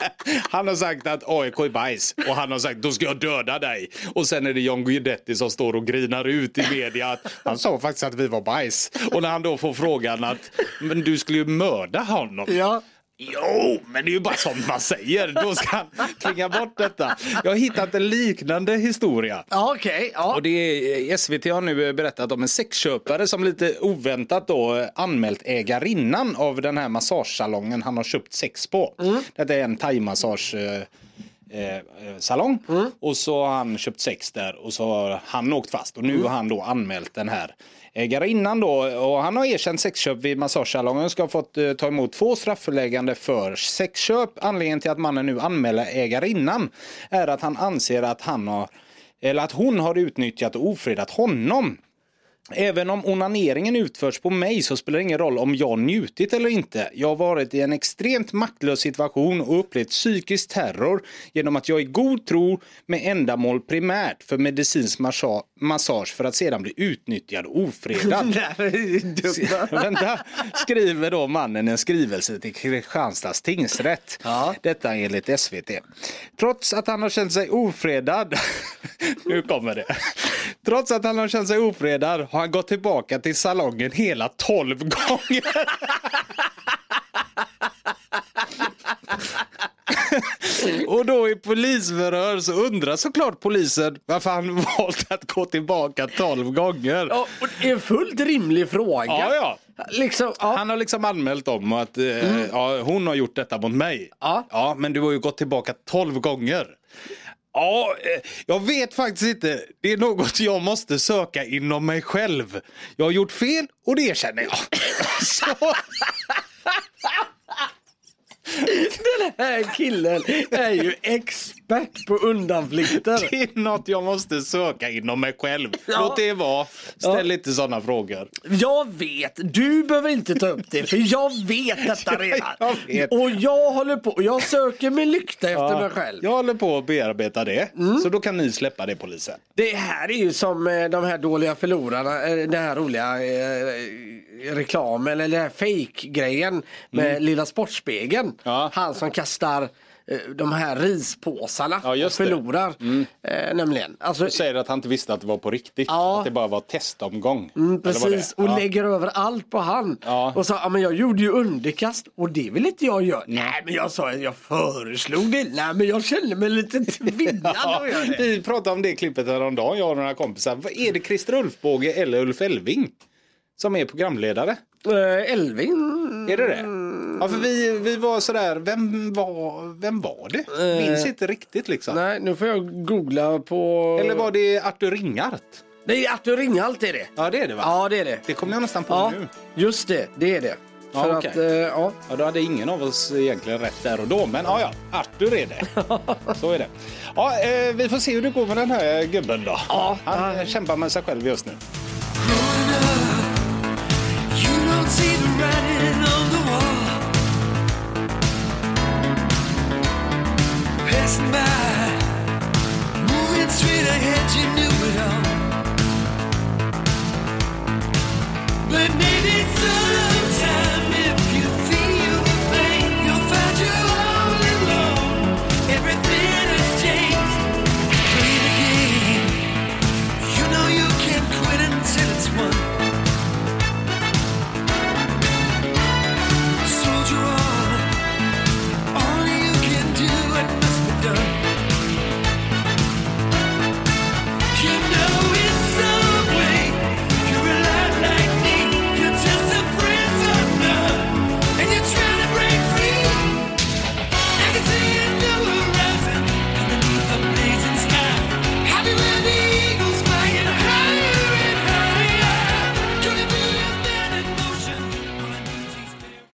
D: Han har sagt att AIK är bajs och han har sagt då ska jag döda dig. Och sen är det John Guidetti som står och grinar ut i media att han sa faktiskt att vi var bajs. Och när han då får frågan att men du skulle ju mörda honom.
C: Ja.
D: Jo, men det är ju bara sånt man säger. Då ska han tvinga bort detta. Jag har hittat en liknande historia.
C: Ja, okej. Ja.
D: Och det är, SVT har nu berättat om en sexköpare som lite oväntat då anmält ägarinnan av den här massagesalongen han har köpt sex på. Detta är en thaimassage eh, eh, eh, salong och så har han köpt sex där och så har han åkt fast och nu har han då anmält den här ägarinnan då och han har erkänt sexköp vid massagesalongen och ska ha fått eh, ta emot två strafföreläggande för sexköp. Anledningen till att mannen nu anmäler ägarinnan är att han anser att han har eller att hon har utnyttjat och ofredat honom. Även om onaneringen utförs på mig så spelar det ingen roll om jag njutit eller inte. Jag har varit i en extremt maktlös situation och upplevt psykisk terror genom att jag i god tro med ändamål primärt för medicinsk massa- massage för att sedan bli utnyttjad och ofredad.
C: där är ju dumt.
D: Vänta, skriver då mannen en skrivelse till Kristianstads tingsrätt.
C: Ja.
D: Detta enligt SVT. Trots att han har känt sig ofredad, nu kommer det. Trots att han har känt sig ofredad har han gått tillbaka till salongen hela tolv gånger. Och då i polisförhör så undrar såklart polisen varför han valt att gå tillbaka tolv gånger.
C: Ja, och det är en fullt rimlig fråga.
D: Ja, ja.
C: Liksom, ja. Mm.
D: Han har liksom anmält om att eh, ja, hon har gjort detta mot mig.
C: Ja.
D: ja, men du har ju gått tillbaka tolv gånger. Ja, eh, jag vet faktiskt inte. Det är något jag måste söka inom mig själv. Jag har gjort fel och det erkänner jag. Så.
C: Den här killen är ju expert på undanflykter.
D: Det är något jag måste söka inom mig själv.
C: Ja.
D: Låt det vara. Ställ inte sådana frågor.
C: Jag vet, du behöver inte ta upp det för jag vet detta redan.
D: Jag vet.
C: Och jag håller på, jag söker med lykta efter mig själv. Mm.
D: Jag håller på att bearbeta det. Så då kan ni släppa det polisen.
C: Det här är ju som eh, de här dåliga förlorarna, eh, den här roliga eh, reklamen eller den här fake-grejen med Lilla Sportspegeln.
D: Mm. Ja.
C: Han som kastar eh, de här rispåsarna
D: Ja,
C: och
D: just det. Mm.
C: förlorar. Eh, nämligen. Alltså,
D: Du säger att han inte visste att det var på riktigt.
C: Ja.
D: Att det bara var testomgång.
C: mm,
D: Eller vad det är.
C: precis, och
D: Ja.
C: lägger över allt på han.
D: Ja.
C: Och sa, ja men jag gjorde ju underkast och det vill inte jag göra. Nej men jag sa, jag föreslog det. Nej men jag kände mig lite tvingad
D: Ja,
C: att göra det.
D: vi pratade om det klippet häromdagen, jag och några kompisar. Vad Är det Christer Ulfbåge eller Ulf Elving som är programledare?
C: Eh, Elvin
D: Är det det?
C: Mm.
D: Ja, för vi, vi var sådär, vem var, vem var det? Minns inte riktigt liksom.
C: Eh. Nej, nu får jag googla på...
D: Eller var det Arthur Ringart?
C: Nej, Arthur Ringalt är det.
D: Ja, det är det va?
C: Ja, det är det.
D: Det kommer jag nästan på
C: Ja,
D: nu.
C: just det. Det är det.
D: Ja,
C: För
D: okej.
C: att, eh, ja.
D: Ja, då hade ingen av oss egentligen rätt där och då. Men ja, ja, Arthur är det. Så är det. Ja, eh, vi får se hur det går med den här gubben då.
C: Ja.
D: Han eh, kämpar med sig själv just nu.
B: You don't see the writing on the wall. Passing by,